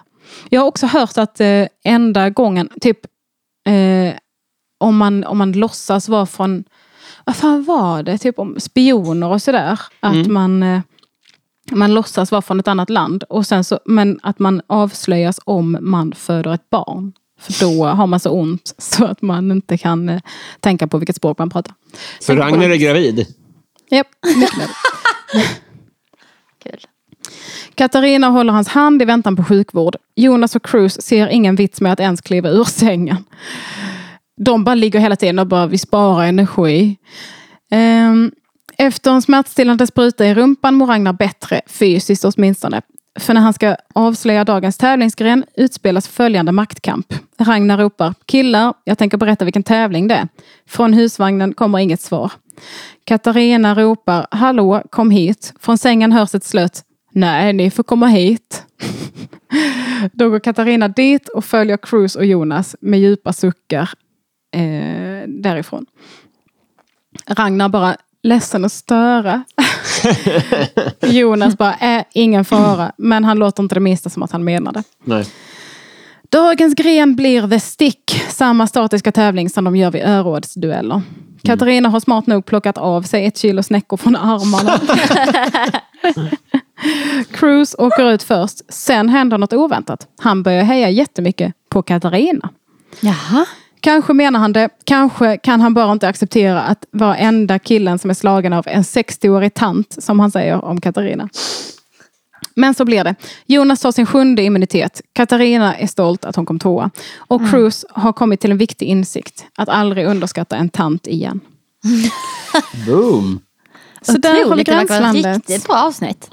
Speaker 2: Jag har också hört att eh, enda gången, typ eh, om, man, om man låtsas vara från, vad fan var det, typ om spioner och sådär. Att man, eh, man låtsas vara från ett annat land. Och sen så, men att man avslöjas om man föder ett barn. För då har man så ont så att man inte kan eh, tänka på vilket språk man pratar.
Speaker 1: Så Ragnar är gravid?
Speaker 2: Japp, mycket lätt.
Speaker 3: Kul.
Speaker 2: Katarina håller hans hand i väntan på sjukvård. Jonas och Cruz ser ingen vits med att ens kliva ur sängen. De bara ligger hela tiden och bara, vi sparar energi. Ehm, efter en smärtstillande spruta i rumpan mår Ragnar bättre, fysiskt åtminstone. För när han ska avslöja dagens tävlingsgren utspelas följande maktkamp. Ragnar ropar, killar, jag tänker berätta vilken tävling det är. Från husvagnen kommer inget svar. Katarina ropar, hallå, kom hit. Från sängen hörs ett slött, nej, ni får komma hit. Då går Katarina dit och följer Cruz och Jonas med djupa suckar eh, därifrån. Ragnar bara, ledsen att störa. Jonas bara, äh, ingen fara. Men han låter inte det minsta som att han menade.
Speaker 1: Nej.
Speaker 2: Dagens gren blir The Stick, samma statiska tävling som de gör vid örådsdueller. Katarina har smart nog plockat av sig ett kilo snäckor från armarna. Cruz åker ut först, sen händer något oväntat. Han börjar heja jättemycket på Katarina.
Speaker 3: Jaha.
Speaker 2: Kanske menar han det, kanske kan han bara inte acceptera att varenda killen som är slagen av en 60-årig tant, som han säger om Katarina. Men så blir det. Jonas tar sin sjunde immunitet. Katarina är stolt att hon kom tvåa. Och
Speaker 3: Mm.
Speaker 2: Cruz har kommit till en viktig insikt. Att aldrig underskatta en tant igen.
Speaker 1: Boom!
Speaker 2: Så där har vi
Speaker 3: Otroligt, det verkar vara ett
Speaker 2: gränslandet.
Speaker 3: riktigt bra avsnitt.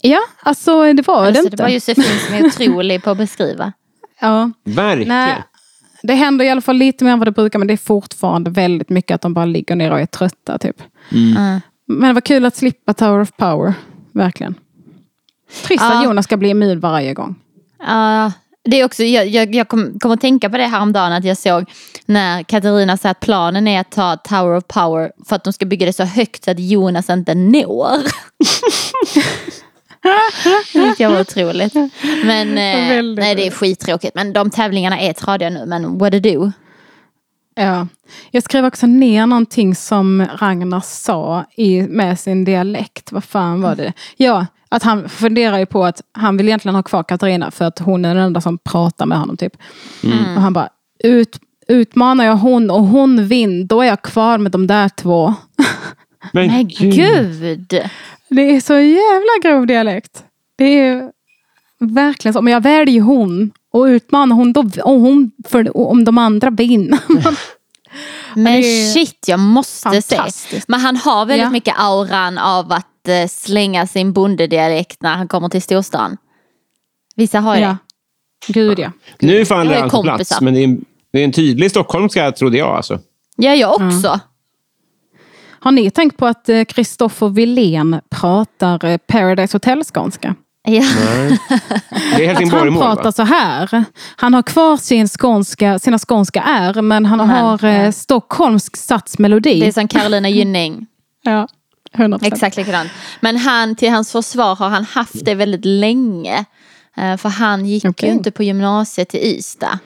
Speaker 2: Ja, alltså det var det
Speaker 3: Alltså,
Speaker 2: inte.
Speaker 3: det var Josefin som är otrolig på att beskriva.
Speaker 2: ja.
Speaker 1: Verkligen.
Speaker 2: Nej, det händer i alla fall lite mer än vad det brukar men det är fortfarande väldigt mycket att de bara ligger ner och är trötta. Typ.
Speaker 3: Mm.
Speaker 2: Men det var kul att slippa Tower of Power. Verkligen. Trist att
Speaker 3: Ja.
Speaker 2: Jonas ska bli immun varje gång.
Speaker 3: Ja, det är också, jag jag, jag kom, kom att tänka på det häromdagen att jag såg när Katarina sa att planen är att ta Tower of Power för att de ska bygga det så högt så att Jonas inte når. Det tyckte jag var otroligt. Men eh,
Speaker 2: Väldigt
Speaker 3: nej, det är skittråkigt. Men de tävlingarna är tradiga nu. Men what to do?
Speaker 2: Ja. Jag skrev också ner någonting som Ragnar sa i, med sin dialekt. Vad fan var det? Ja, att han funderar ju på att han vill egentligen ha kvar Katarina för att hon är den enda som pratar med honom. typ. Och han bara, ut, utmanar jag hon och hon vinner, då är jag kvar med de där två.
Speaker 1: Men,
Speaker 3: Men gud!
Speaker 2: Det är så jävla grov dialekt. Det är ju verkligen så. Om jag väljer hon och utmanar hon, då, och hon för, och om de andra vinner.
Speaker 3: Men
Speaker 2: det är
Speaker 3: shit, jag måste se.
Speaker 2: fantastiskt.
Speaker 3: Men han har väldigt
Speaker 2: Ja.
Speaker 3: mycket auran av att eh, slänga sin bondedialekt när han kommer till storstan. Vissa har ju det.
Speaker 2: Ja. Gud ja.
Speaker 1: nu
Speaker 3: Jag
Speaker 1: faller
Speaker 3: är
Speaker 1: han på
Speaker 3: kompisar.
Speaker 1: plats, men det är, en, det är en tydlig stockholmska, trodde jag. Alltså.
Speaker 3: Ja, jag också.
Speaker 2: Har ni tänkt på att eh, Christopher Wilén pratar eh, Paradise Hotel-skånska?
Speaker 3: Ja.
Speaker 1: Det är
Speaker 2: Att
Speaker 1: Helsingborg i
Speaker 2: han
Speaker 1: mål,
Speaker 2: pratar
Speaker 1: va?
Speaker 2: så här. Han har kvar sin skånska, sina skånska R, men han har eh, stockholmsk satsmelodi.
Speaker 3: Det är som Carolina Gynning.
Speaker 2: ja, 100%.
Speaker 3: Exakt likadant. Men han, till hans försvar har han haft det väldigt länge. Eh, För han gick
Speaker 2: Okej.
Speaker 3: ju inte på gymnasiet i Ystad.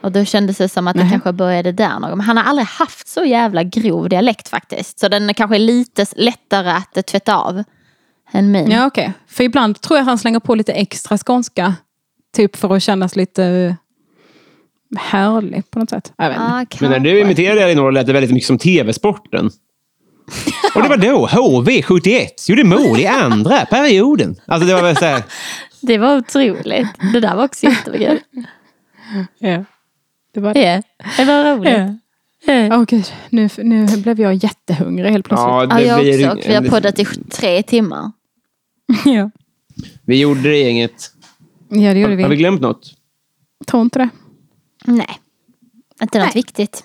Speaker 3: Och då kändes det som att det kanske började där någon gång. Men han har aldrig haft så jävla grov dialekt faktiskt. Så den är kanske lite s- lättare att eh, tvätta av. Än min.
Speaker 2: Ja, okej. För ibland tror jag han slänger på lite extra skånska. Typ för att kännas lite eh, härlig på något sätt. Jag vet inte.
Speaker 3: Ah,
Speaker 1: Men när du imiterade Elinor lät det väldigt mycket som TV-sporten. Och det var då HV71 gjorde mål i andra perioden. Alltså det var väl så här,
Speaker 3: Det var otroligt. Det där var också jättekul.
Speaker 2: Ja. Det var det.
Speaker 3: Ja, Det var roligt.
Speaker 2: Ja. Åh gud, nu, nu blev jag jättehungrig helt plötsligt.
Speaker 1: ja,
Speaker 3: Ja,
Speaker 1: det
Speaker 3: jag
Speaker 1: blir,
Speaker 3: också. Och vi har poddat i sj- tre timmar.
Speaker 2: Ja,
Speaker 1: Vi gjorde det gänget.
Speaker 2: ja det gjorde
Speaker 1: Har vi
Speaker 2: vi.
Speaker 1: glömt något?
Speaker 2: Tror inte det.
Speaker 3: Nej, inte något
Speaker 2: Nej.
Speaker 3: viktigt.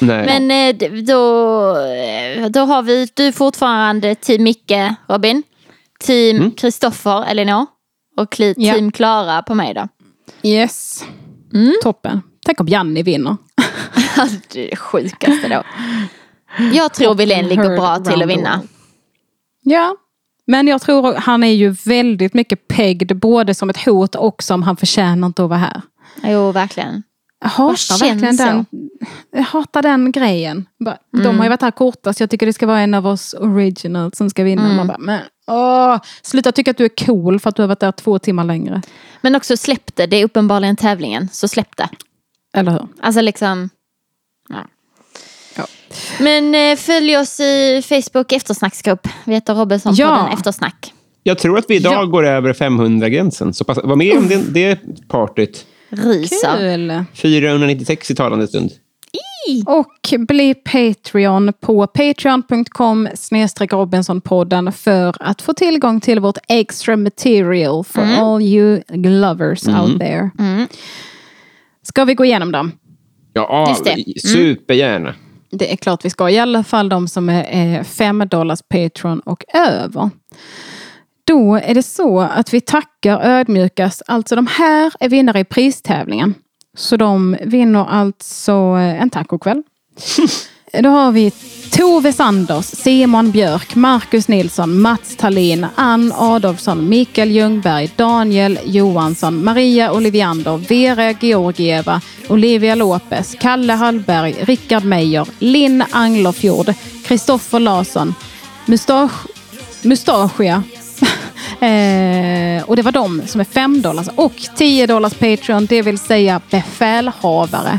Speaker 1: Nej.
Speaker 3: Men eh, d- då, eh, då har vi, du är fortfarande team Micke, Robin. Team Kristoffer, Elinor. Och kli,
Speaker 2: Ja.
Speaker 3: team Klara på mig då.
Speaker 2: Mm. Yes. Toppen. Tänk om Janni vinner.
Speaker 3: det är det sjukaste då. Jag tror Wilén ligger bra till att vinna.
Speaker 2: Ja. Men jag tror han är ju väldigt mycket pegged både som ett hot och som han förtjänar inte att vara här.
Speaker 3: Jo, verkligen.
Speaker 2: Jag hatar
Speaker 3: känns
Speaker 2: verkligen
Speaker 3: så?
Speaker 2: den. Jag hatar den grejen. Bara, De har ju varit här kortast. Jag tycker det ska vara en av oss original som ska vinna. Man bara, men, åh, sluta tycka att du är cool för att du har varit där två timmar längre.
Speaker 3: Men också släpp det. Det är uppenbarligen tävlingen, så släpp det.
Speaker 2: Eller hur?
Speaker 3: Alltså liksom... Ja.
Speaker 2: Ja.
Speaker 3: Men eh, följ oss i Facebook eftersnacksgrupp. Vi heter Robinson
Speaker 2: Ja.
Speaker 3: på den eftersnack.
Speaker 1: Jag tror att vi idag
Speaker 2: Ja.
Speaker 1: går över 500-gränsen. Så passa, var med om det, det partyt.
Speaker 3: Ryser.
Speaker 2: Kul!
Speaker 1: 496 i talande stund.
Speaker 2: Och bli Patreon på patreon.com snedstreck Robinsonpodden för att få tillgång till vårt extra material for all you lovers out there. Ska vi gå igenom dem?
Speaker 1: Ja,
Speaker 3: Just det. Mm.
Speaker 1: supergärna.
Speaker 2: Det är klart vi ska, i alla fall de som är 5 dollars Patreon och över. Då är det så att vi tackar ödmjukast, alltså de här är vinnare i pristävlingen. Så de vinner alltså eh, en tacokväll. Då har vi Tove Sanders, Simon Björk, Marcus Nilsson, Mats Tallin, Ann Adolfsson, Mikael Ljungberg, Daniel Johansson, Maria Oliviander, Vera Georgieva, Olivia Lopez, Kalle Hallberg, Rickard Meijer, Linn Anglerfjord, Kristoffer Larsson, Mustasch, Mustaschia. eh, och det var de som är 5 dollars och 10 dollars Patreon, det vill säga befälhavare.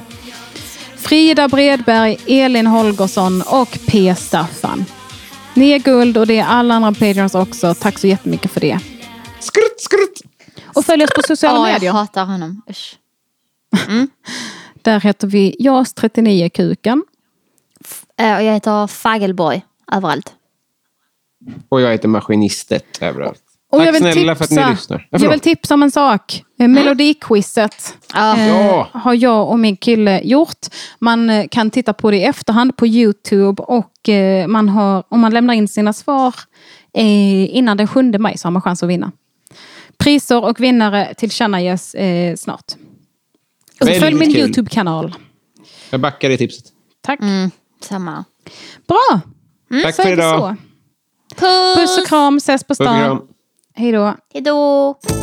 Speaker 2: Frida Bredberg, Elin Holgersson och P. Staffan. Ni är guld och det är alla andra Patreons också. Tack så jättemycket för det.
Speaker 1: Skrutt, skrutt!
Speaker 2: Och följ oss på sociala
Speaker 3: Ja, jag
Speaker 2: medier.
Speaker 3: hatar honom. Usch.
Speaker 2: Där heter vi JAS39kuken.
Speaker 3: Eh, Och jag heter Fagelborg överallt.
Speaker 1: Och jag heter Maskinistet överallt.
Speaker 2: Och
Speaker 1: Tack
Speaker 2: jag vill
Speaker 1: snälla
Speaker 2: tipsa,
Speaker 1: för att ni lyssnar. Ja,
Speaker 2: jag vill
Speaker 1: förlåt.
Speaker 2: tipsa om en sak. Eh, Melodiquizet
Speaker 3: Ja.
Speaker 1: Ja.
Speaker 2: Eh, har jag och min kille gjort. Man eh, kan titta på det i efterhand på Youtube och eh, man har, om man lämnar in sina svar eh, innan den 7 maj så har man chans att vinna. Priser och vinnare tillkännages eh, snart. Och
Speaker 1: Väldigt
Speaker 2: följ min
Speaker 1: kul.
Speaker 2: Youtube-kanal.
Speaker 1: Jag backar det tipset.
Speaker 2: Tack.
Speaker 3: Mm, samma.
Speaker 2: Bra!
Speaker 1: Tack
Speaker 2: Så
Speaker 1: för
Speaker 2: är Mm, det
Speaker 1: idag.
Speaker 2: så.
Speaker 3: Puss!
Speaker 2: Puss och kram, ses på
Speaker 1: Puss och
Speaker 2: stan.
Speaker 1: kram.
Speaker 2: Hej då.
Speaker 3: Hejdå!